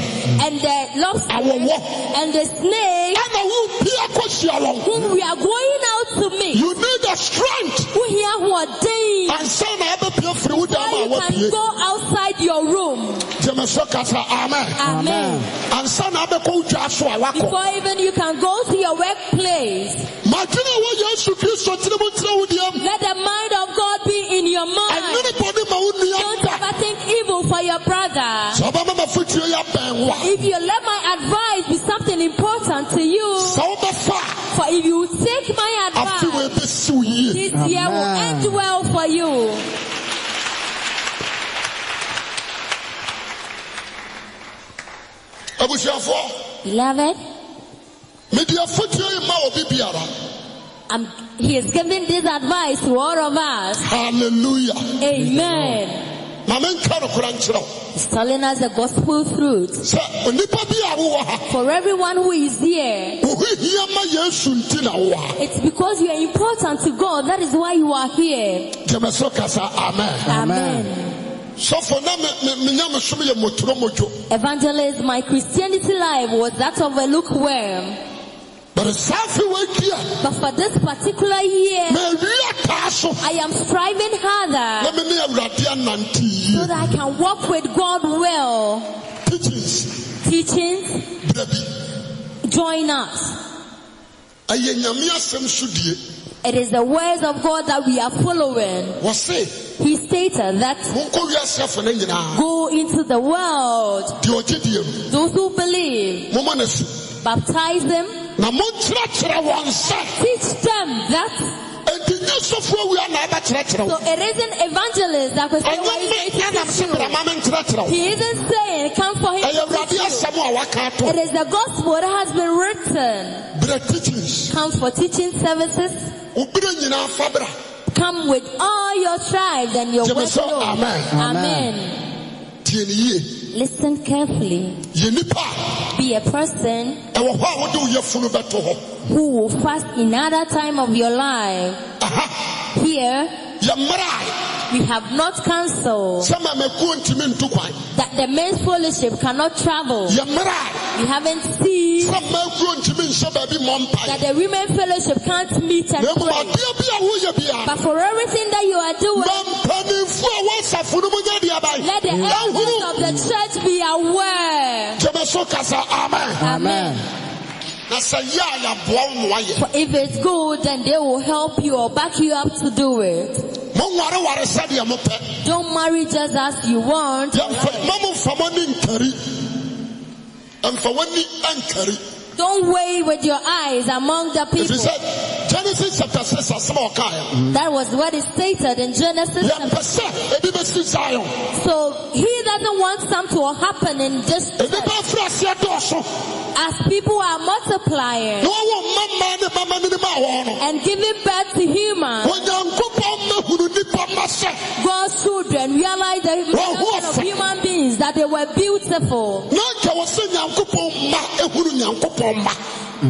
[SPEAKER 3] and the lobster
[SPEAKER 1] awɔwɔ
[SPEAKER 3] and the snake
[SPEAKER 1] ana wompia kɔhyia wɔn
[SPEAKER 3] whom we are going out to meet.
[SPEAKER 1] you need the strength
[SPEAKER 3] We hear what day
[SPEAKER 1] ansa na wabɛpia firi wo
[SPEAKER 3] where
[SPEAKER 1] dama a
[SPEAKER 3] you can
[SPEAKER 1] wapie
[SPEAKER 3] go outside your room.
[SPEAKER 1] gyeme so ka sa amen
[SPEAKER 3] Amen.
[SPEAKER 1] ansa na wabɛkɔ wo dwa so a wakɔ
[SPEAKER 3] Before even you can go to your workplace,
[SPEAKER 1] madwene a wɔ yesu kristo tene mu tena wo deɛm
[SPEAKER 3] let the mind of God be in your mind.
[SPEAKER 1] ɛnene bɔne ma wo nua
[SPEAKER 3] Don't
[SPEAKER 1] da
[SPEAKER 3] ever think evil for your brother.
[SPEAKER 1] sɛ wobɛma mafotuo yɛ abɛn wo a
[SPEAKER 3] If you let my advice be something important to you,
[SPEAKER 1] sɛ wobɛfa
[SPEAKER 3] for if you take my
[SPEAKER 1] a afe
[SPEAKER 3] advice,
[SPEAKER 1] wɔɛbɛsi wo yie
[SPEAKER 3] this year will
[SPEAKER 2] Amen.
[SPEAKER 3] end well for you.
[SPEAKER 1] abusuafoɔ
[SPEAKER 3] Beloved,
[SPEAKER 1] mede afotuo yi ma obi biara
[SPEAKER 3] I'm, he is giving this advice to all of us.
[SPEAKER 1] halleluya
[SPEAKER 3] Amen.
[SPEAKER 1] ma menka nokora nkyerɛ wo
[SPEAKER 3] He's telling us the gospel truth.
[SPEAKER 1] sɛ onipa bi a wowɔ ha
[SPEAKER 3] For everyone who is here,
[SPEAKER 1] wo ho hia ma yesu nti na wowɔ ha
[SPEAKER 3] it's because you are important to God. That is why you are here.
[SPEAKER 1] gyeme so kasa amen
[SPEAKER 2] Amen.
[SPEAKER 3] Amen.
[SPEAKER 1] sɔfo na me- me- menya mesom yɛ motoro modwo
[SPEAKER 3] Evangelist, my Christianity life was that of a lukewarm.
[SPEAKER 1] but saa afe wɔadi a
[SPEAKER 3] But for this particular year,
[SPEAKER 1] maawia taa so
[SPEAKER 3] I am striving harder.
[SPEAKER 1] na me ne awurade anante
[SPEAKER 3] so
[SPEAKER 1] yie
[SPEAKER 3] that I can walk with God well.
[SPEAKER 1] teachings
[SPEAKER 3] Teachings,
[SPEAKER 1] bra bi
[SPEAKER 3] join us.
[SPEAKER 1] ɛyɛ nyame asɛm so die
[SPEAKER 3] It is the words of God that we are following.
[SPEAKER 1] wɔ se
[SPEAKER 3] He stated that
[SPEAKER 1] monkɔ wiaseafo no nyinaa
[SPEAKER 3] go into the world,
[SPEAKER 1] deɛ ɔgye deɛ mu
[SPEAKER 3] those who believe,
[SPEAKER 1] momɔ ne so
[SPEAKER 3] baptize them,
[SPEAKER 1] na monkyerɛkyerɛ wɔn nsa
[SPEAKER 3] teach them that.
[SPEAKER 1] enti nyɛ sɔfoɔ awia na ɛbɛkyerɛkyerɛ
[SPEAKER 3] So
[SPEAKER 1] wo
[SPEAKER 3] it isn't evangelist that was
[SPEAKER 1] ɛnyɛ me ɛnam se brama menkyerɛkyerɛ wo
[SPEAKER 3] He isn't saying, come for him.
[SPEAKER 1] ɛyɛ
[SPEAKER 3] to
[SPEAKER 1] awurade
[SPEAKER 3] teach you.
[SPEAKER 1] asɛm a waka
[SPEAKER 3] It
[SPEAKER 1] ato
[SPEAKER 3] is the gospel that has been written.
[SPEAKER 1] brɛ teachings
[SPEAKER 3] Come for teaching services.
[SPEAKER 1] wo berɛ nyinaa fa bra
[SPEAKER 3] Come with all your tribes and your
[SPEAKER 1] Give me
[SPEAKER 3] workload.
[SPEAKER 1] some amen.
[SPEAKER 2] Amen.
[SPEAKER 3] Amen.
[SPEAKER 1] tie ne yie
[SPEAKER 3] Listen carefully.
[SPEAKER 1] yɛ nnipa
[SPEAKER 3] Be a person
[SPEAKER 1] a ɛwɔ hɔ a wode wo yafunu bɛto hɔ
[SPEAKER 3] who will fast in other time of your life.
[SPEAKER 1] aha
[SPEAKER 3] Here,
[SPEAKER 1] yɛ mmerɛ
[SPEAKER 3] we have not
[SPEAKER 1] a
[SPEAKER 3] cancelled
[SPEAKER 1] sɛ ma makuo ntimi nto kwan
[SPEAKER 3] that the men's fellowship cannot travel.
[SPEAKER 1] yɛ mmerɛ
[SPEAKER 3] We haven't
[SPEAKER 1] a
[SPEAKER 3] seen
[SPEAKER 1] sɛ ma akuo ntimi nhyɛ baabi mmɔ
[SPEAKER 3] that
[SPEAKER 1] mpae
[SPEAKER 3] the women fellowship can't meet and
[SPEAKER 1] na mmom
[SPEAKER 3] pray.
[SPEAKER 1] adeɛ bi a woyɛ bia
[SPEAKER 3] But for everything that you are doing,
[SPEAKER 1] ma mpanimfo a wɔsafo no mu nyɛ deɛ
[SPEAKER 3] let the
[SPEAKER 1] bae
[SPEAKER 3] elders
[SPEAKER 1] ahuru
[SPEAKER 3] of the church be aware.
[SPEAKER 1] gyeme so kasa amen
[SPEAKER 2] Amen.
[SPEAKER 1] na sɛ yɛ a yɛboa wo noayɛ
[SPEAKER 3] For if it's good, then they will help you or back you up to do it.
[SPEAKER 1] monwareware sɛdeɛ mopɛ
[SPEAKER 3] Don't marry just as you want.
[SPEAKER 1] Yɛmfa- ma momfa m'ani nkari ɛmfa w'ani ankari
[SPEAKER 3] Don't weigh with your eyes among the
[SPEAKER 1] ɛfiri
[SPEAKER 3] people.
[SPEAKER 1] sɛ genesis chapter 6 asɛm a ɔkaeɛ
[SPEAKER 3] That was what is stated in Genesis.
[SPEAKER 1] yɛmpɛ sɛ ebi bɛsi zion
[SPEAKER 3] So he doesn't want something to happen in this
[SPEAKER 1] nnipa
[SPEAKER 3] church
[SPEAKER 1] afiri aseɛ dɔɔso
[SPEAKER 3] as people are multiplying
[SPEAKER 1] na wɔwɔ mma mmaa ne mama no nim a wɔwɔ no
[SPEAKER 3] and giving birth to humans.
[SPEAKER 1] onyankopɔn mahunu nnipa mma sɛ
[SPEAKER 3] God's children realize the humanity of human beings that they were beautiful.
[SPEAKER 1] na nka wɔ sɛ nyankopɔn mma ehunu nyankopɔn mma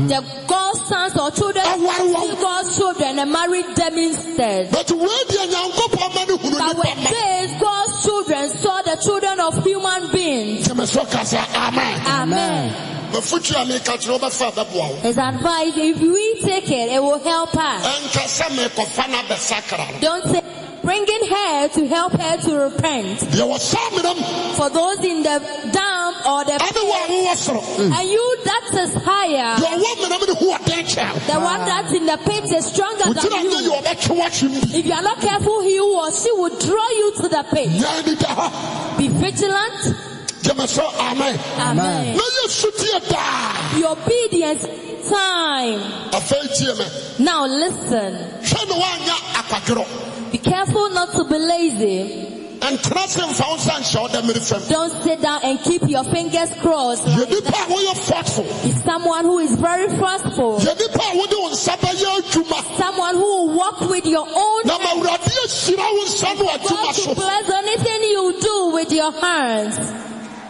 [SPEAKER 3] The God's sons or children
[SPEAKER 1] I want Mm. one.
[SPEAKER 3] took God's children and married them instead.
[SPEAKER 1] but wei deɛ nyankopɔn ma no hunu
[SPEAKER 3] But
[SPEAKER 1] nnipa
[SPEAKER 3] when
[SPEAKER 1] mma
[SPEAKER 3] days God's children saw the children of human beings.
[SPEAKER 1] kyɛmɛ so ka sɛ amen
[SPEAKER 3] Amen.
[SPEAKER 1] mafotu a meka kyerɛ wobɛfa bɛboa wo
[SPEAKER 3] His advice, if we take it, it will help us.
[SPEAKER 1] ɛnka sɛ mekɔfa no abɛsakra no
[SPEAKER 3] Don't say, bringing her to help her to repent.
[SPEAKER 1] deɛ wɔsa menam
[SPEAKER 3] For those in the dump or the
[SPEAKER 1] ane wɔ a wowɔ soro
[SPEAKER 3] and you that is higher,
[SPEAKER 1] deɛ ɔwɔ menam ne ho ɔden kyɛ wo
[SPEAKER 3] the one that's in the pit is stronger
[SPEAKER 1] wotina
[SPEAKER 3] than
[SPEAKER 1] nyɛ
[SPEAKER 3] you.
[SPEAKER 1] yɛ ɔbɛtwe w'akyem bi
[SPEAKER 3] If you are not careful, he or she will draw you to the pit.
[SPEAKER 1] nyaa ni da hɔ
[SPEAKER 3] Be vigilant.
[SPEAKER 1] gyeme so amen
[SPEAKER 3] Amen.
[SPEAKER 1] na yesu tie daa
[SPEAKER 3] Be obedient. Time.
[SPEAKER 1] afei tie me
[SPEAKER 3] Now listen.
[SPEAKER 1] hwɛ ne woanya akwadworɔ
[SPEAKER 3] Be careful not to be lazy.
[SPEAKER 1] ntena se mfa wo nsa nhyɛ wo da mmere fam
[SPEAKER 3] Don't sit down and keep your fingers crossed.
[SPEAKER 1] yɛ nipa a woyɛ fɔtfo
[SPEAKER 3] Be someone who is very trustful.
[SPEAKER 1] yɛ nipa a wode wo nsa bɛyɛ adwuma
[SPEAKER 3] Someone who will walk with your own
[SPEAKER 1] na ma awurade ahyira wo nsa ne w'adwuma
[SPEAKER 3] God
[SPEAKER 1] so
[SPEAKER 3] to bless anything you do with your hands.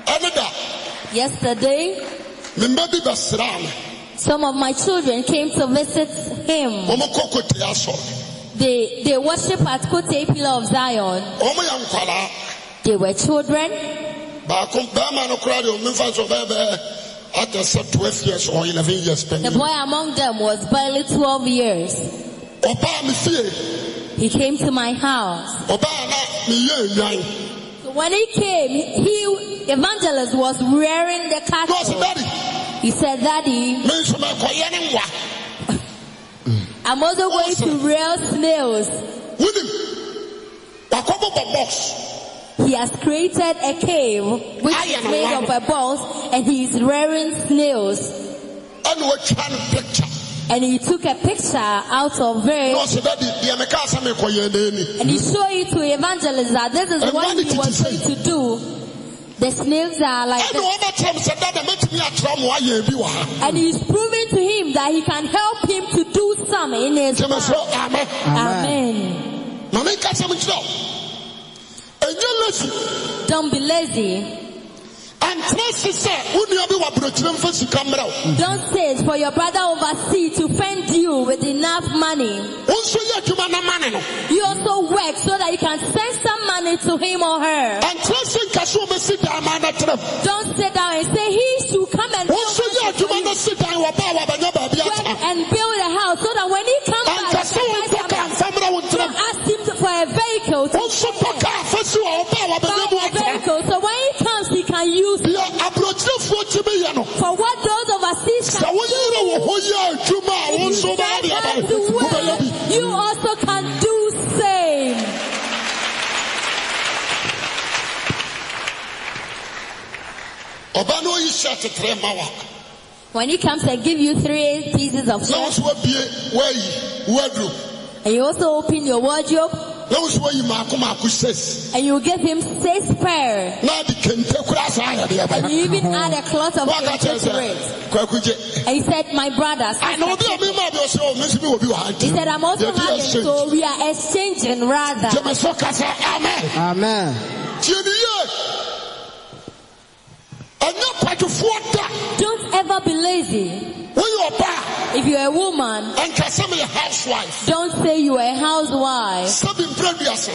[SPEAKER 1] ɛne da
[SPEAKER 3] Yesterday,
[SPEAKER 1] me mma bi bɛsraa me
[SPEAKER 3] some of my children came to visit him.
[SPEAKER 1] wɔmokɔ kotea asɔre
[SPEAKER 3] They they worship at Kote Pillar of Zion.
[SPEAKER 1] wɔmoyɛ nkwaraa
[SPEAKER 3] They were children.
[SPEAKER 1] baako bɛrima no koraa deɛ ɔmemfa nso bɛɛbɛɛ atɛ sɛ 12 years or 11 years
[SPEAKER 3] The
[SPEAKER 1] pɛni
[SPEAKER 3] boy among them was barely 12 years.
[SPEAKER 1] ɔbaa me fie
[SPEAKER 3] He came to my house.
[SPEAKER 1] ɔbaa na meyɛ nnwan
[SPEAKER 3] So when he came, he evangelist was rearing the
[SPEAKER 1] na ɔse
[SPEAKER 3] cattle.
[SPEAKER 1] dade
[SPEAKER 3] He said, "Daddy,
[SPEAKER 1] me nso mɛkɔyɛ ne nwa
[SPEAKER 3] I'm also going to rear snails."
[SPEAKER 1] wonim wakɔbobɔ box
[SPEAKER 3] He has created a cave which
[SPEAKER 1] I
[SPEAKER 3] is
[SPEAKER 1] am
[SPEAKER 3] made
[SPEAKER 1] one.
[SPEAKER 3] of a balls, and he is rearing snails.
[SPEAKER 1] ɛne watwa no picture
[SPEAKER 3] And he took a picture out of it.
[SPEAKER 1] na ɔse dade deɛ mekaa sɛ mekɔyɛ naani
[SPEAKER 3] And he showed it to evangelists that this is
[SPEAKER 1] And
[SPEAKER 3] what
[SPEAKER 1] what did
[SPEAKER 3] he
[SPEAKER 1] it
[SPEAKER 3] was
[SPEAKER 1] say?
[SPEAKER 3] going to do. The snails are like
[SPEAKER 1] ɛne
[SPEAKER 3] this.
[SPEAKER 1] wɔbɛkyerɛ m sɛ dada mɛtumi akyerɛ mo ayɛ bi wɔ ha
[SPEAKER 3] And he's proving to him that he can help him to do some in his
[SPEAKER 1] nti
[SPEAKER 3] life.
[SPEAKER 1] mesɛ amɛ
[SPEAKER 3] Amen.
[SPEAKER 1] na menka sɛ menkyerɛ wo ɛnyɛ lasi
[SPEAKER 3] Don't be lazy.
[SPEAKER 1] antena se sɛ wo nua bi wɔ aborɔkyerɛ mfa sika mmerɛ wo
[SPEAKER 3] Don't sit for your brother overseas to fend you with enough money.
[SPEAKER 1] wo nso yɛ adwuma na mane no
[SPEAKER 3] You also work so that you can send some money to him or her.
[SPEAKER 1] antena se nka sɛ wobɛsi dan ma no terɛm
[SPEAKER 3] Don't sit down and say he should come and
[SPEAKER 1] wo
[SPEAKER 3] build
[SPEAKER 1] nso yɛ
[SPEAKER 3] houses for
[SPEAKER 1] adwuma no
[SPEAKER 3] you.
[SPEAKER 1] si dan wɔ ba a wɔabɛnya baabi
[SPEAKER 3] work
[SPEAKER 1] ata
[SPEAKER 3] and build a house so that when he comes
[SPEAKER 1] anka
[SPEAKER 3] back,
[SPEAKER 1] sɛ
[SPEAKER 3] he
[SPEAKER 1] wontɔ
[SPEAKER 3] can
[SPEAKER 1] ka
[SPEAKER 3] buy some-
[SPEAKER 1] mfa mmerɛ wo
[SPEAKER 3] Don't
[SPEAKER 1] nterɛm
[SPEAKER 3] ask him to, for a vehicle to
[SPEAKER 1] wo nso tɔ ka afa si wɔ wo ba a wɔabɛnya mu
[SPEAKER 3] buy a
[SPEAKER 1] ata
[SPEAKER 3] vehicle so when he comes he can use it.
[SPEAKER 1] deɛ aborɔkyerɛfoɔ tumi yɛ no
[SPEAKER 3] for what those overseas
[SPEAKER 1] sɛ woyere wo ho yɛ adwuma a wo
[SPEAKER 3] If you
[SPEAKER 1] nso
[SPEAKER 3] strive
[SPEAKER 1] wobɛyɛ deɛ
[SPEAKER 3] hard to
[SPEAKER 1] ɛbɛyɛ wobɛyɛ bi
[SPEAKER 3] work, you also can do same.
[SPEAKER 1] ɔba no oyi hyɛ tetere ma wa
[SPEAKER 3] When he comes and give you three pieces of
[SPEAKER 1] na wo
[SPEAKER 3] shirt,
[SPEAKER 1] so wabie woayi woaduro
[SPEAKER 3] and you also open your wardrobe,
[SPEAKER 1] na wo so wayi maako maako ses
[SPEAKER 3] and you give him six pair,
[SPEAKER 1] na ade kente koraa saa yɛ deɛ
[SPEAKER 3] and
[SPEAKER 1] ɛbɛyɛ
[SPEAKER 3] you even add a cloth of
[SPEAKER 1] woaka kyerɛ
[SPEAKER 3] cloth to it.
[SPEAKER 1] sɛ kwakugye
[SPEAKER 3] And he said, my brothers,
[SPEAKER 1] ana obi a mema bi ɔsɛ "Oh, ɔ menso bi wɔ bi wɔ ha
[SPEAKER 3] he said, I'm also
[SPEAKER 1] Yɛde
[SPEAKER 3] having,
[SPEAKER 1] exchange.
[SPEAKER 3] so we are exchanging rather.
[SPEAKER 1] gyeme so ka sɛ amen
[SPEAKER 2] Amen.
[SPEAKER 1] tie ne yie ɛnyɛ kwadwofoɔ da
[SPEAKER 3] Don't ever be lazy.
[SPEAKER 1] woyɛ ɔba
[SPEAKER 3] If you're a woman,
[SPEAKER 1] a ɛnka sɛ meyɛ housewife
[SPEAKER 3] don't say you are a housewife,
[SPEAKER 1] sɛ bi mprɛ duasa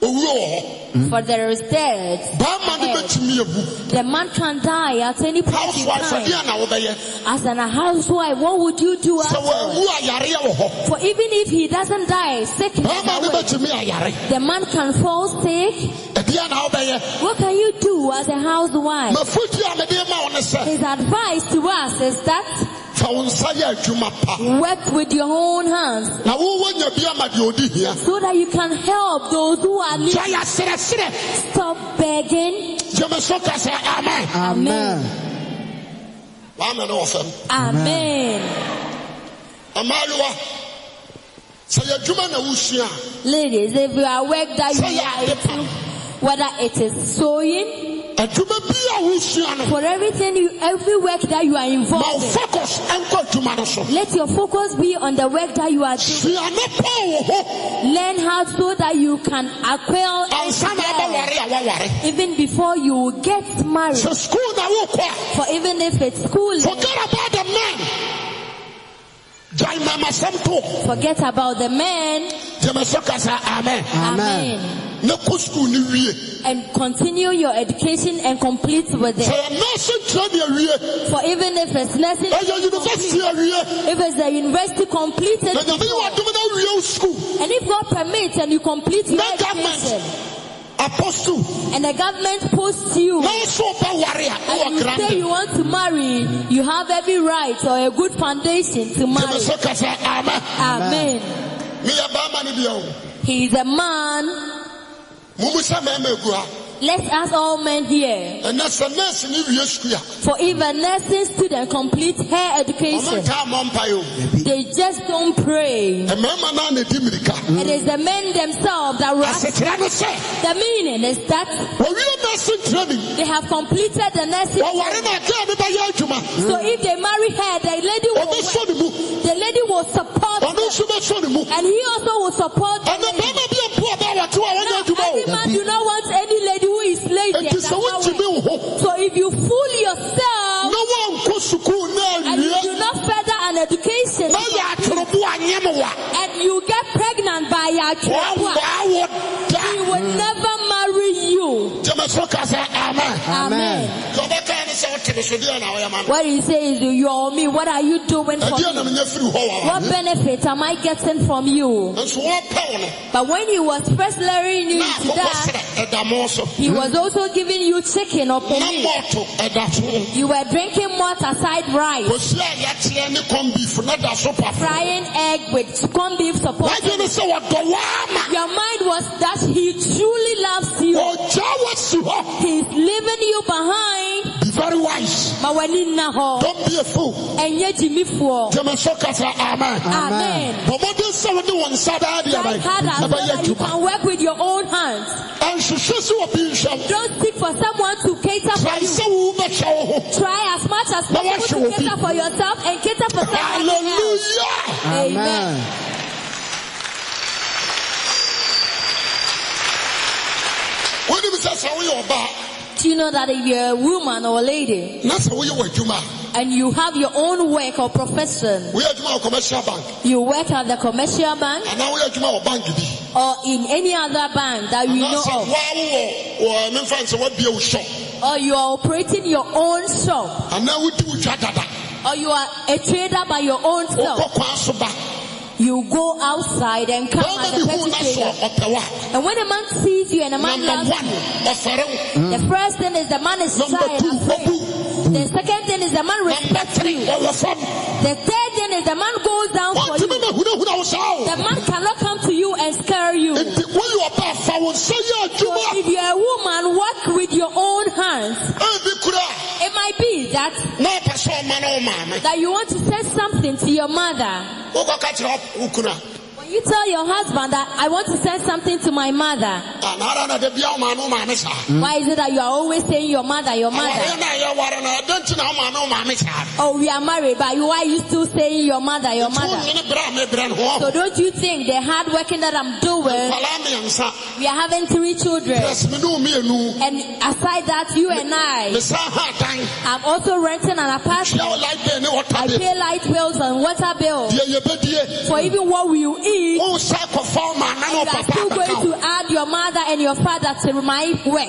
[SPEAKER 1] owuo wɔ hɔ
[SPEAKER 3] for there is death.
[SPEAKER 1] baama ne bɛtumi abu
[SPEAKER 3] The man can die at any point in
[SPEAKER 1] housewife
[SPEAKER 3] time.
[SPEAKER 1] ɛdeɛ na wobɛyɛ
[SPEAKER 3] As an housewife, what would you do
[SPEAKER 1] sɛ
[SPEAKER 3] afterwards?
[SPEAKER 1] wɔawu ayareɛ wɔ hɔ
[SPEAKER 3] For even if he doesn't die, sick is
[SPEAKER 1] bɛrima ne
[SPEAKER 3] away.
[SPEAKER 1] bɛtumi ayare
[SPEAKER 3] The man can fall sick.
[SPEAKER 1] ɛdeɛ na wobɛyɛ
[SPEAKER 3] What can you do as a housewife?
[SPEAKER 1] mafotu a mede ma wo ne sɛ
[SPEAKER 3] His advice to us is that
[SPEAKER 1] fa wo nsa yɛ adwuma pa
[SPEAKER 3] work with your own hands
[SPEAKER 1] na wowɔ nya bi ama deɛ ɔdi hia
[SPEAKER 3] so that you can help those who are need.
[SPEAKER 1] gya yɛ serɛserɛ
[SPEAKER 3] Stop begging.
[SPEAKER 1] gyeme so ka sɛ amen
[SPEAKER 2] Amen.
[SPEAKER 1] maame ne wɔ fam
[SPEAKER 3] Amen.
[SPEAKER 1] amaayewa sɛ yɛ adwuma na wosua a
[SPEAKER 3] Ladies, if you are work that
[SPEAKER 1] sɛ
[SPEAKER 3] you
[SPEAKER 1] yɛ
[SPEAKER 3] are
[SPEAKER 1] ade
[SPEAKER 3] into,
[SPEAKER 1] pa
[SPEAKER 3] whether it is sewing,
[SPEAKER 1] adwuma bi a wosua no
[SPEAKER 3] for everything, you, every work that you are
[SPEAKER 1] ma wo
[SPEAKER 3] involved in,
[SPEAKER 1] focus ɛnkɔ adwuma no so
[SPEAKER 3] Let your focus be on the work that you are doing.
[SPEAKER 1] sua ne paa wɔ hɔ
[SPEAKER 3] Learn how so that you can acquire
[SPEAKER 1] ansa na
[SPEAKER 3] wealth
[SPEAKER 1] abɛware a woaware
[SPEAKER 3] even before you get married.
[SPEAKER 1] sɛ skul na wokɔ
[SPEAKER 3] For even if it's school,
[SPEAKER 1] a forget about the man gyae mamasɛm to
[SPEAKER 3] forget about the man.
[SPEAKER 1] gyeme so ka sɛ amen
[SPEAKER 3] Amen.
[SPEAKER 2] Amen.
[SPEAKER 1] ne kɔ skul ne wie
[SPEAKER 3] And continue your education and complete with
[SPEAKER 1] sɛ
[SPEAKER 3] it.
[SPEAKER 1] yɛ nurse nkyerɛ ne awie
[SPEAKER 3] For even if it's nursing,
[SPEAKER 1] ɛyɛ university
[SPEAKER 3] complete.
[SPEAKER 1] awie
[SPEAKER 3] if it's the university completed,
[SPEAKER 1] na nyame yɛ
[SPEAKER 3] before,
[SPEAKER 1] wadom no awie wo skul
[SPEAKER 3] and if God permits and you complete your
[SPEAKER 1] No government.
[SPEAKER 3] education,
[SPEAKER 1] apostle
[SPEAKER 3] and the government posts you.
[SPEAKER 1] na wo so wobɛware a
[SPEAKER 3] And
[SPEAKER 1] wowɔ
[SPEAKER 3] you
[SPEAKER 1] grande
[SPEAKER 3] say you want to marry, you have every right or a good foundation to marry.
[SPEAKER 1] Jẹmẹsọ kasa ama.
[SPEAKER 3] Amen.
[SPEAKER 1] Mi yẹ bàmà ni bi yẹ o.
[SPEAKER 3] He is a man.
[SPEAKER 1] Mumu sẹ mẹ́mẹ́ egu ha.
[SPEAKER 3] Let us all men here.
[SPEAKER 1] Ẹnẹ sẹ nẹ́ẹ̀sì ni wiye sukuu ya.
[SPEAKER 3] For if a nursing student complete her
[SPEAKER 1] Ọmọ
[SPEAKER 3] education,
[SPEAKER 1] nka mọ mpa yi o.
[SPEAKER 3] they just don't pray.
[SPEAKER 1] Ẹ̀mẹ́mà náà na di mirika.
[SPEAKER 3] It is the men themselves that rush.
[SPEAKER 1] Asetira ni sẹ.
[SPEAKER 3] The meaning is that
[SPEAKER 1] Wọ̀wíyẹ nursing training.
[SPEAKER 3] they have completed the nursing.
[SPEAKER 1] Wọ̀wari na ẹ̀jẹ̀ mi bá yẹ adwuma.
[SPEAKER 3] So if they marry her, the lady
[SPEAKER 1] Obi
[SPEAKER 3] will,
[SPEAKER 1] sọ ni mu.
[SPEAKER 3] the lady will support
[SPEAKER 1] Ọdún
[SPEAKER 3] her.
[SPEAKER 1] nso bɛsɔ ne mu
[SPEAKER 3] and he also will support the
[SPEAKER 1] ɛnɛ
[SPEAKER 3] lady.
[SPEAKER 1] bɛrima bi a mpo a bɛawate wɔ a wɔnyɛ
[SPEAKER 3] Now,
[SPEAKER 1] adwuma
[SPEAKER 3] any
[SPEAKER 1] o
[SPEAKER 3] man do not want any lady who is lazy. and
[SPEAKER 1] enti sɛ
[SPEAKER 3] does not
[SPEAKER 1] wontumi
[SPEAKER 3] work.
[SPEAKER 1] wo ho
[SPEAKER 3] So if you fool yourself
[SPEAKER 1] na woankɔ sukuu na
[SPEAKER 3] and you
[SPEAKER 1] awie
[SPEAKER 3] do not further an education
[SPEAKER 1] na yɛ atorobo anyɛ mo wa
[SPEAKER 3] and you get pregnant by your child,
[SPEAKER 1] wɔawaa wo
[SPEAKER 3] he
[SPEAKER 1] da
[SPEAKER 3] will never marry you.
[SPEAKER 1] gyamɛso ka sɛ amen
[SPEAKER 3] Amen.
[SPEAKER 1] deɛ ɔbɛkaa ne sɛ wote me so deɛ na woyɛ ma me
[SPEAKER 3] What he says is, you owe me. What are Uh, you doing for
[SPEAKER 1] ɛdeɛ
[SPEAKER 3] me?
[SPEAKER 1] na menya firi hɔ wa
[SPEAKER 3] What benefit am I getting from you?
[SPEAKER 1] nso wɔpɛ wo no
[SPEAKER 3] But when he was first luring you
[SPEAKER 1] na
[SPEAKER 3] to
[SPEAKER 1] akokɔ
[SPEAKER 3] that,
[SPEAKER 1] serɛ ɛda mo so
[SPEAKER 3] he was also giving you chicken or
[SPEAKER 1] na
[SPEAKER 3] penny.
[SPEAKER 1] mɔɔto ɛda so
[SPEAKER 3] You were drinking malt aside rice,
[SPEAKER 1] kɔsi a yɛteɛ ne kɔm beef na da so pa
[SPEAKER 3] frying egg with corn beef support.
[SPEAKER 1] wagye ne sɛ wɔdɔ waa ma
[SPEAKER 3] Your mind was that he truly loves you.
[SPEAKER 1] ɔgya wasi hɔ
[SPEAKER 3] He's leaving you behind.
[SPEAKER 1] be very wise
[SPEAKER 3] But when in Naho,
[SPEAKER 1] don't be a fool
[SPEAKER 3] and yet Jimmy for
[SPEAKER 1] gyamɛso ka sɛ amen
[SPEAKER 3] Amen.
[SPEAKER 1] bɔmmɔden sɛ wode wo nsa daa deɛ
[SPEAKER 3] Try harder
[SPEAKER 1] bɛn
[SPEAKER 3] so
[SPEAKER 1] ɛbɛyɛ
[SPEAKER 3] that you
[SPEAKER 1] adwuma
[SPEAKER 3] can work with your own hands.
[SPEAKER 1] ɛnhwehwɛ sɛ wɔ bi nhyɛm
[SPEAKER 3] Don't seek for someone to cater for
[SPEAKER 1] trae
[SPEAKER 3] you.
[SPEAKER 1] sɛ wo wobɛhyɛ wo ho
[SPEAKER 3] Try as much as
[SPEAKER 1] Now what
[SPEAKER 3] possible
[SPEAKER 1] should
[SPEAKER 3] to
[SPEAKER 1] we
[SPEAKER 3] cater
[SPEAKER 1] be?
[SPEAKER 3] for yourself and cater for someone else.
[SPEAKER 1] hallelujah
[SPEAKER 3] Amen.
[SPEAKER 1] wonim sɛ sɛ woyɛ ɔbaa
[SPEAKER 3] Do you know that if you're a woman or a lady
[SPEAKER 1] na sɛ woyɛ w'adwuma a
[SPEAKER 3] and you have your own work or profession,
[SPEAKER 1] woyɛ adwuma wɔ commercial bank
[SPEAKER 3] you work at the commercial bank
[SPEAKER 1] anaa woyɛ adwuma wɔ bank bi
[SPEAKER 3] or in any other bank that you know
[SPEAKER 1] anaasɛ
[SPEAKER 3] of,
[SPEAKER 1] woawo wɔ memfa nsɛ woabie wo shop
[SPEAKER 3] or you are operating your own shop,
[SPEAKER 1] anaa wodi wo dwa dada
[SPEAKER 3] or you are a trader by your own self,
[SPEAKER 1] wokɔ kwan so ba
[SPEAKER 3] you go outside and come
[SPEAKER 1] bɛma
[SPEAKER 3] as a
[SPEAKER 1] bi huu
[SPEAKER 3] petty
[SPEAKER 1] na
[SPEAKER 3] trader.
[SPEAKER 1] soɔ ɔpɛ wo a
[SPEAKER 3] And when a man sees you and a man
[SPEAKER 1] number
[SPEAKER 3] loves
[SPEAKER 1] one ɔfɛre wo
[SPEAKER 3] you, the first thing is the man is shy
[SPEAKER 1] Number
[SPEAKER 3] and
[SPEAKER 1] two,
[SPEAKER 3] afraid. The second thing is the man
[SPEAKER 1] number
[SPEAKER 3] respects
[SPEAKER 1] three
[SPEAKER 3] you.
[SPEAKER 1] ɔwɔ fam
[SPEAKER 3] The third thing is the man goes down for you.
[SPEAKER 1] wontumi mahunahuna wo saa o
[SPEAKER 3] The man cannot come to you and scare you.
[SPEAKER 1] nti woyɛ ɔbaa fa wo nsa yɛ
[SPEAKER 3] So
[SPEAKER 1] adwuma
[SPEAKER 3] if you're a woman, work with your own hands.
[SPEAKER 1] ɛbi kura a
[SPEAKER 3] It might be that
[SPEAKER 1] na ɔpɛ sɛ ɔma no wo maame
[SPEAKER 3] that you want to say something to your mother.
[SPEAKER 1] wokɔka kyerɛ wo- wo kunu a
[SPEAKER 3] When you tell your husband that I want to send something to my mother,
[SPEAKER 1] anaara na da bia wo maame wo maame saa
[SPEAKER 3] why is it that you are always saying your mother, your mother?
[SPEAKER 1] awareɛ na ɛyɛ ware na ɛdɛ nti na wo maame wo maame saa
[SPEAKER 3] Oh, we are married, but why are you still saying your mother, your
[SPEAKER 1] nti
[SPEAKER 3] mother?
[SPEAKER 1] wonyene berɛ a mebrɛ no ho
[SPEAKER 3] So eh, don't you think the hard working that I'm doing?
[SPEAKER 1] kwala mmiɛnsa
[SPEAKER 3] We are having three children,
[SPEAKER 1] prɛs me ne wo mmienu
[SPEAKER 3] and aside that, you and I,
[SPEAKER 1] mesa ha dan
[SPEAKER 3] I'm also renting an apartment.
[SPEAKER 1] tua wo light bill ne
[SPEAKER 3] I
[SPEAKER 1] wɔta bill
[SPEAKER 3] pay light bills and water bills.
[SPEAKER 1] deɛ yɛbɛdie
[SPEAKER 3] For even what we eat,
[SPEAKER 1] wo sa kɔfa wo maame ne wo
[SPEAKER 3] you are
[SPEAKER 1] papa
[SPEAKER 3] still
[SPEAKER 1] abɛka
[SPEAKER 3] going
[SPEAKER 1] wo
[SPEAKER 3] to add your mother and your father to my work.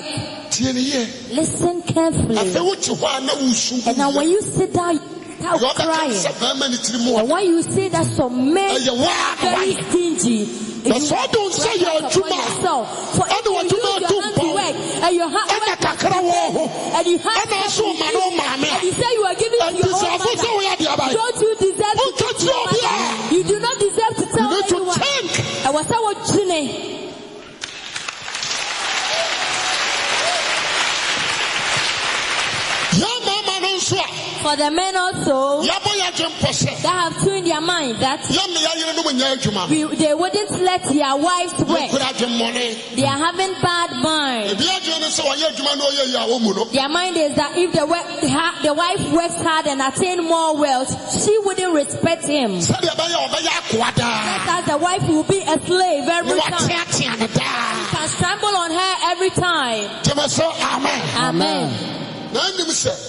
[SPEAKER 1] tie ne yie
[SPEAKER 3] Listen
[SPEAKER 1] afei
[SPEAKER 3] carefully.
[SPEAKER 1] wote hɔ a na wosu
[SPEAKER 3] And now when you sit down, start
[SPEAKER 1] yɛɔbɛka
[SPEAKER 3] crying.
[SPEAKER 1] sɛ bɛrima ne tiri mu
[SPEAKER 3] And
[SPEAKER 1] wɔ
[SPEAKER 3] when you see that some men
[SPEAKER 1] ɛyɛ
[SPEAKER 3] are very
[SPEAKER 1] waaba
[SPEAKER 3] stingy, if you
[SPEAKER 1] That's why I don't say
[SPEAKER 3] cry
[SPEAKER 1] you're a
[SPEAKER 3] out
[SPEAKER 1] Juma.
[SPEAKER 3] upon yourself, for
[SPEAKER 1] I don't want
[SPEAKER 3] if you
[SPEAKER 1] Juma to
[SPEAKER 3] use your hand to
[SPEAKER 1] bow.
[SPEAKER 3] work and your heart
[SPEAKER 1] ɛna kakra wɔ ho
[SPEAKER 3] and you have
[SPEAKER 1] ɛna ɛso wo ma ne wo maame
[SPEAKER 3] and
[SPEAKER 1] a
[SPEAKER 3] you say you are giving to
[SPEAKER 1] ɛnti
[SPEAKER 3] your
[SPEAKER 1] sɛ
[SPEAKER 3] own
[SPEAKER 1] afo sɛ
[SPEAKER 3] mother.
[SPEAKER 1] woyɛ adeɛ abae
[SPEAKER 3] Don't you deserve to
[SPEAKER 1] Wonka
[SPEAKER 3] teach your
[SPEAKER 1] kyerɛ obi
[SPEAKER 3] mother? You do not deserve to tell
[SPEAKER 1] You need to
[SPEAKER 3] anyone.
[SPEAKER 1] think.
[SPEAKER 3] ɛwɔ sɛ wodwene
[SPEAKER 1] yɛn maama no nso a
[SPEAKER 3] for the men also
[SPEAKER 1] yɛabɔ yɛ adwe mpɔ sɛ
[SPEAKER 3] that have two in their mind that
[SPEAKER 1] yɛn me yɛayere no mu nyɛ adwuma no
[SPEAKER 3] we, they wouldn't let their wives work.
[SPEAKER 1] yɛkura adwe mmɔne
[SPEAKER 3] They are having bad mind.
[SPEAKER 1] ebi adwe no sɛ wɔyɛ adwuma no ɔyɛ yi a wɔmu no
[SPEAKER 3] Their mind is that if the, wo- ha- the wife works hard and attain more wealth, she wouldn't respect him.
[SPEAKER 1] sɛdeɛ ɛbɛyɛ a ɔbɛyɛ akoa daa
[SPEAKER 3] Just as the wife will be a slave
[SPEAKER 1] ne
[SPEAKER 3] every time.
[SPEAKER 1] wɔateatea no daa
[SPEAKER 3] Can trample on her every time.
[SPEAKER 1] gyeme sɛ amen
[SPEAKER 3] Amen.
[SPEAKER 1] na anim sɛ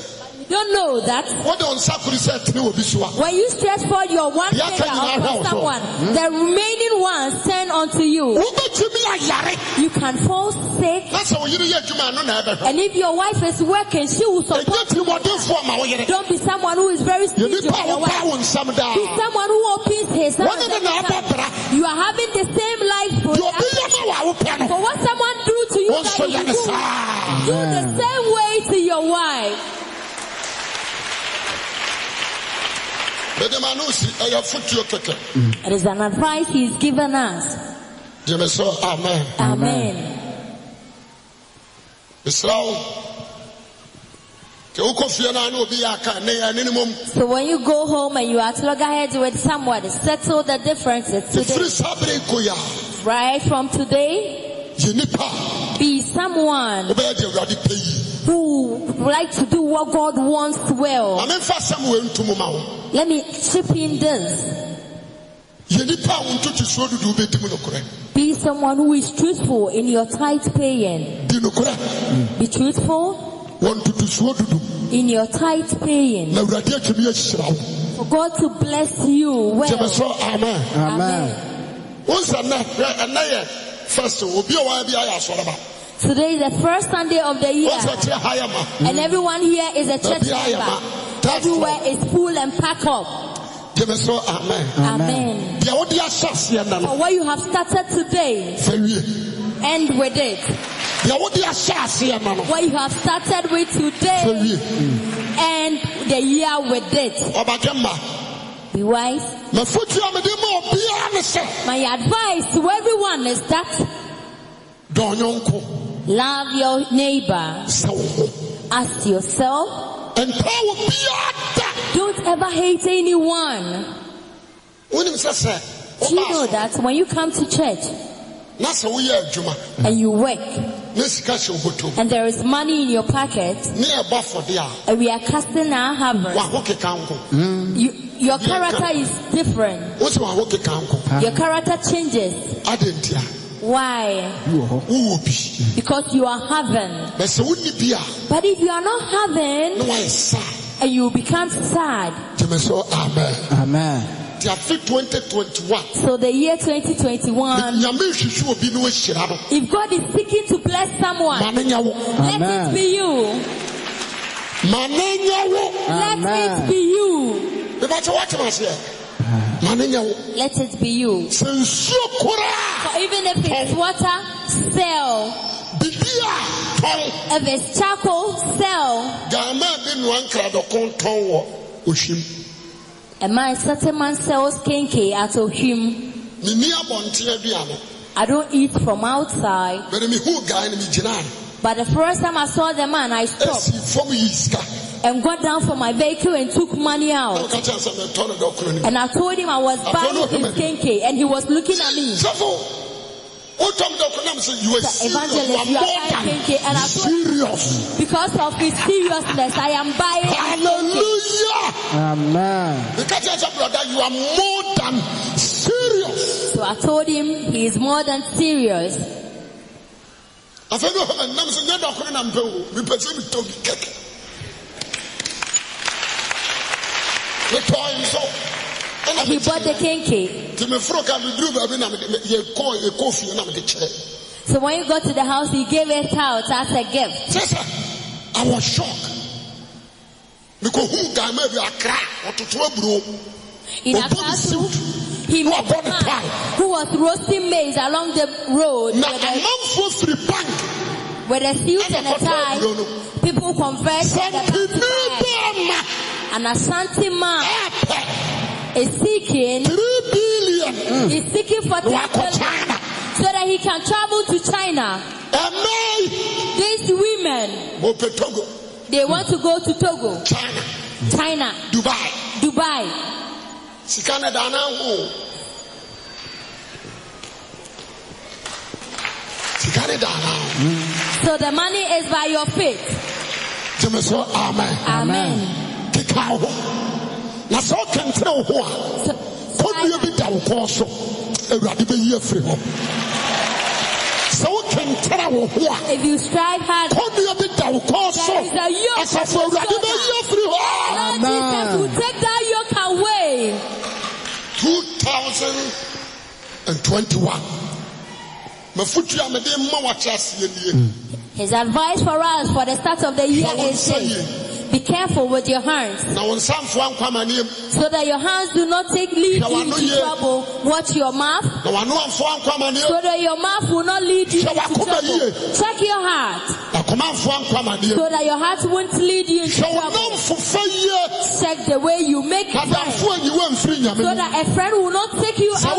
[SPEAKER 3] You don't know that
[SPEAKER 1] wode wo nsa kuri sɛ tene wɔ bi so a
[SPEAKER 3] when you stretch forth your one
[SPEAKER 1] Yeah,
[SPEAKER 3] finger
[SPEAKER 1] can you not help, sir?
[SPEAKER 3] upon someone, the remaining ones turn unto you.
[SPEAKER 1] wobɛtumi ayare
[SPEAKER 3] You can fall sick,
[SPEAKER 1] na sɛ wo yere yɛ adwuma no na ɛbɛhwɛ
[SPEAKER 3] and if your wife is working, she will
[SPEAKER 1] ɛgye
[SPEAKER 3] support.
[SPEAKER 1] tirimɔdenfoɔ ma wo yere
[SPEAKER 3] Don't be someone who is very
[SPEAKER 1] yɛ
[SPEAKER 3] stingy
[SPEAKER 1] nipa
[SPEAKER 3] on
[SPEAKER 1] a
[SPEAKER 3] your
[SPEAKER 1] wopaa
[SPEAKER 3] wife.
[SPEAKER 1] wo nsam daa
[SPEAKER 3] Be someone who opens his hands.
[SPEAKER 1] wɔne ne na
[SPEAKER 3] every time.
[SPEAKER 1] abɔ bra
[SPEAKER 3] You are having the same life
[SPEAKER 1] deɛ obi
[SPEAKER 3] product.
[SPEAKER 1] yɛ ma wɔ a wopɛ no
[SPEAKER 3] For what someone do to you,
[SPEAKER 1] wo
[SPEAKER 3] that
[SPEAKER 1] nso
[SPEAKER 3] you
[SPEAKER 1] yɛ ne
[SPEAKER 3] do,
[SPEAKER 1] saa
[SPEAKER 3] do the same way to your wife.
[SPEAKER 1] bɛdɛma no si ɛyɛ fotuo kɛkɛ
[SPEAKER 3] It is an advice he is giving us.
[SPEAKER 1] gyeme sɛ amen
[SPEAKER 3] Amen.
[SPEAKER 1] mesra wo kɛ wokɔ fie no a ne obi yɛ aka ne ɛne ne mom
[SPEAKER 3] So when you go home and you are at loggerheads with someone, settle the differences
[SPEAKER 1] ɛfiri
[SPEAKER 3] today.
[SPEAKER 1] saa berɛ ko yɛ a
[SPEAKER 3] Right from today,
[SPEAKER 1] yɛ nnipa
[SPEAKER 3] be someone
[SPEAKER 1] a wobɛyɛ de awurade pɛ yi
[SPEAKER 3] who would like to do what God wants well.
[SPEAKER 1] ma memfa asɛm wɔ ntom ma wo
[SPEAKER 3] Let me chip in this.
[SPEAKER 1] yɛ nipa a wo ntotosoɔ dodoɔ bɛdi mu nokorɛ
[SPEAKER 3] Be someone who is truthful in your tithe paying.
[SPEAKER 1] di nokorɛ
[SPEAKER 3] Be truthful
[SPEAKER 1] wɔ ntotosoɔ dodo
[SPEAKER 3] in your tithe paying.
[SPEAKER 1] na awurade atwami ahyira wo
[SPEAKER 3] For God to bless you
[SPEAKER 1] gyɛmɛ
[SPEAKER 3] well.
[SPEAKER 1] sɛ amen euh,
[SPEAKER 2] Amen.
[SPEAKER 1] wonsa nɛ hwɛ ɛnɛ yɛ first obi a wɔayɛ bi ayɛ asɔreba
[SPEAKER 3] Today is the first Sunday of the year,
[SPEAKER 1] wonsa kyerɛ ha yɛ ma
[SPEAKER 3] and everyone here is a church
[SPEAKER 1] Baabi ayɛ ma
[SPEAKER 3] member.
[SPEAKER 1] That's
[SPEAKER 3] Everywhere
[SPEAKER 1] why.
[SPEAKER 3] is full and packed up.
[SPEAKER 1] gyeme so amen
[SPEAKER 3] Amen.
[SPEAKER 1] deɛ wode ahyɛ aseɛ nna no
[SPEAKER 3] For what you have started today,
[SPEAKER 1] fa wie
[SPEAKER 3] end with it.
[SPEAKER 1] deɛ wode ahyɛ aseɛ nna no
[SPEAKER 3] What you have started with
[SPEAKER 1] fa
[SPEAKER 3] today,
[SPEAKER 1] wie
[SPEAKER 3] end the year with it.
[SPEAKER 1] ɔbagye ma
[SPEAKER 3] Be wise.
[SPEAKER 1] mafotua mede ma obiaa ne sɛ
[SPEAKER 3] My advice to everyone is that
[SPEAKER 1] dɔ nyɔnko
[SPEAKER 3] love your neighbor
[SPEAKER 1] sɛ wo ho
[SPEAKER 3] as yourself.
[SPEAKER 1] ɛntaa wo biaa da
[SPEAKER 3] Don't ever hate anyone.
[SPEAKER 1] wonim sɛ sɛ
[SPEAKER 3] Do you know
[SPEAKER 1] wobaa
[SPEAKER 3] that when you come to church
[SPEAKER 1] so- na sɛ woyɛ adwuma
[SPEAKER 3] and you work
[SPEAKER 1] na sika hyɛ wohotom
[SPEAKER 3] and there is money in your pocket
[SPEAKER 1] ne ɛbɔ afɔde a
[SPEAKER 3] and Uh, we are casting our harbor,
[SPEAKER 1] waho keka nko
[SPEAKER 3] you, your character is different.
[SPEAKER 1] wo sɛ waho keka nko
[SPEAKER 3] Your character changes.
[SPEAKER 1] ade nti a
[SPEAKER 3] Why?
[SPEAKER 2] You wɔ hɔ.
[SPEAKER 1] wowɔ bi
[SPEAKER 3] Because you are having.
[SPEAKER 1] na sɛ wonni bi a
[SPEAKER 3] But if you are not
[SPEAKER 1] na
[SPEAKER 3] having
[SPEAKER 1] woayɛ saa
[SPEAKER 3] and you become sad,
[SPEAKER 1] gyeme so amen
[SPEAKER 2] Amen.
[SPEAKER 1] nti afe 2021
[SPEAKER 3] so the year 2021,
[SPEAKER 1] nyame nhwehwɛ obi ne wahyira no
[SPEAKER 3] if God is seeking to bless someone,
[SPEAKER 1] ma ne nyɛ wo
[SPEAKER 3] Let it
[SPEAKER 2] Amen.
[SPEAKER 3] be you.
[SPEAKER 1] ma ne nyɛ wo
[SPEAKER 3] Let it
[SPEAKER 2] Amen.
[SPEAKER 3] be you.
[SPEAKER 1] meba kyɛ woatem aseɛ ma ne nyɛ wo
[SPEAKER 3] Let it be you.
[SPEAKER 1] sɛ nsuo koraa
[SPEAKER 3] For even if it's water, sell.
[SPEAKER 1] bibi a tɔn
[SPEAKER 3] If it's charcoal, sell.
[SPEAKER 1] gama bi nnoa nkradɔko ntɔn wɔ ohwim
[SPEAKER 3] A man, certain man sells kinky at Ohim.
[SPEAKER 1] menni abɔnte aduane
[SPEAKER 3] I don't eat from outside.
[SPEAKER 1] bɛde mehuu gae no megyinaa no
[SPEAKER 3] But the first time I saw the man, I stopped
[SPEAKER 1] ɛsi fam yi sika
[SPEAKER 3] and got down from my vehicle and took money
[SPEAKER 1] na
[SPEAKER 3] out.
[SPEAKER 1] woka kyerɛ sɛ metɔ no dɔkono nim
[SPEAKER 3] And I told him I was buying his kinky and he was looking at me.
[SPEAKER 1] sɛfo wotɔm dɔkono nam sɛ you are
[SPEAKER 3] The
[SPEAKER 1] serious
[SPEAKER 3] evangelist,
[SPEAKER 1] you are
[SPEAKER 3] you are
[SPEAKER 1] more
[SPEAKER 3] buying
[SPEAKER 1] than
[SPEAKER 3] kinky and I told
[SPEAKER 1] serious
[SPEAKER 3] because of his seriousness, I am buying his kinky.
[SPEAKER 1] hallelujah
[SPEAKER 2] Amen.
[SPEAKER 1] The catch said, brother, you are more than serious.
[SPEAKER 3] So I told him he is more than serious.
[SPEAKER 1] I said, no, man, I'm saying, no, I'm not going to be person with Tommy Kek. The time so. And I'm
[SPEAKER 3] He bought the
[SPEAKER 1] the
[SPEAKER 3] kinky.
[SPEAKER 1] Timmy Frog and the Drew, I mean, I'm the call, a coffee, and I'm the chair.
[SPEAKER 3] So when he got to the house, he gave it out as a gift.
[SPEAKER 1] Sister, I was shocked. Because who can maybe a crack or to throw bro?
[SPEAKER 3] In a
[SPEAKER 1] Or body
[SPEAKER 3] classroom,
[SPEAKER 1] suit.
[SPEAKER 3] he
[SPEAKER 1] Who are
[SPEAKER 3] met a
[SPEAKER 1] body
[SPEAKER 3] man
[SPEAKER 1] tie.
[SPEAKER 3] who was roasting maize along the road
[SPEAKER 1] Now,
[SPEAKER 3] with
[SPEAKER 1] a
[SPEAKER 3] a,
[SPEAKER 1] man for free bank.
[SPEAKER 3] with a suit
[SPEAKER 1] And
[SPEAKER 3] and
[SPEAKER 1] I
[SPEAKER 3] a
[SPEAKER 1] thought,
[SPEAKER 3] tie.
[SPEAKER 1] no, no.
[SPEAKER 3] People conversed with
[SPEAKER 1] Some
[SPEAKER 3] the
[SPEAKER 1] people,
[SPEAKER 3] man.
[SPEAKER 1] man,
[SPEAKER 3] An Ashanti man
[SPEAKER 1] up
[SPEAKER 3] is seeking,
[SPEAKER 1] three billion.
[SPEAKER 3] is seeking for
[SPEAKER 1] Mm. Wa kɔ
[SPEAKER 3] temple
[SPEAKER 1] China.
[SPEAKER 3] so that he can travel to China.
[SPEAKER 1] Amen.
[SPEAKER 3] These women,
[SPEAKER 1] Mope Togo,
[SPEAKER 3] they want to go to Togo,
[SPEAKER 1] China,
[SPEAKER 3] China,
[SPEAKER 1] Dubai,
[SPEAKER 3] Dubai.
[SPEAKER 1] Sikana Dana Ho. Sikana Dana.
[SPEAKER 3] So the money is by your faith.
[SPEAKER 1] Jemeso Amen.
[SPEAKER 3] Amen.
[SPEAKER 1] Kika ho. Na so kentre ho a.
[SPEAKER 3] So,
[SPEAKER 1] Kodua bi da wo kɔn so. Awurade bɛyi afiri hɔ. Sɛ wo kentre wo ho a.
[SPEAKER 3] if you strive hard,
[SPEAKER 1] Kodua bi da wo kɔn so.
[SPEAKER 3] There is a yoke on
[SPEAKER 1] Asafo
[SPEAKER 3] your
[SPEAKER 1] Awurade bɛyi afiri hɔ.
[SPEAKER 3] Lord Jesus will take that yoke away.
[SPEAKER 1] 2021 mafutu a mede ma wakyɛ aseɛ
[SPEAKER 3] Hmm.
[SPEAKER 1] nie
[SPEAKER 3] His advice for us for the start of the year
[SPEAKER 1] Now
[SPEAKER 3] is
[SPEAKER 1] say
[SPEAKER 3] this. Be careful with your hands
[SPEAKER 1] na wo nsamfoa nkwama neɛm
[SPEAKER 3] so that your hands do not take lead
[SPEAKER 1] Now I
[SPEAKER 3] you
[SPEAKER 1] know
[SPEAKER 3] into
[SPEAKER 1] you-
[SPEAKER 3] trouble. Watch your mouth
[SPEAKER 1] na wanoamfoa nkwama
[SPEAKER 3] so
[SPEAKER 1] neɛm
[SPEAKER 3] that your mouth will not lead you
[SPEAKER 1] Now
[SPEAKER 3] into
[SPEAKER 1] I come by
[SPEAKER 3] trouble.
[SPEAKER 1] here.
[SPEAKER 3] Check your heart
[SPEAKER 1] na komanfoa nkwama neɛm
[SPEAKER 3] so that your heart won't lead you into
[SPEAKER 1] hwɛ wo
[SPEAKER 3] trouble.
[SPEAKER 1] namfofa yie
[SPEAKER 3] Check the way you make friends
[SPEAKER 1] adamfo anyiwa mfiri
[SPEAKER 3] so
[SPEAKER 1] nyame mu.
[SPEAKER 3] that a friend will not take you
[SPEAKER 1] sɛ
[SPEAKER 3] out of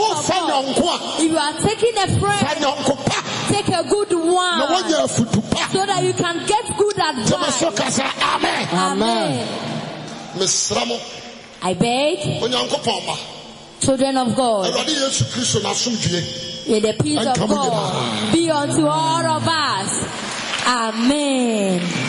[SPEAKER 1] wofa
[SPEAKER 3] God.
[SPEAKER 1] nyɔnko
[SPEAKER 3] If you are taking a
[SPEAKER 1] a fa
[SPEAKER 3] friend,
[SPEAKER 1] nyɔnko pa
[SPEAKER 3] take a good
[SPEAKER 1] na
[SPEAKER 3] one
[SPEAKER 1] woanya afutu pa
[SPEAKER 3] so that you can get good
[SPEAKER 1] gyeme so
[SPEAKER 3] advice.
[SPEAKER 1] kasa amen
[SPEAKER 3] Amen.
[SPEAKER 1] mesra mo
[SPEAKER 3] I beg,
[SPEAKER 1] onyankopɔn ma
[SPEAKER 3] children of God,
[SPEAKER 1] awurade yesu kristo n'asomdwie
[SPEAKER 3] may the peace
[SPEAKER 1] And
[SPEAKER 3] of
[SPEAKER 1] come with
[SPEAKER 3] God be unto all of us. Amen.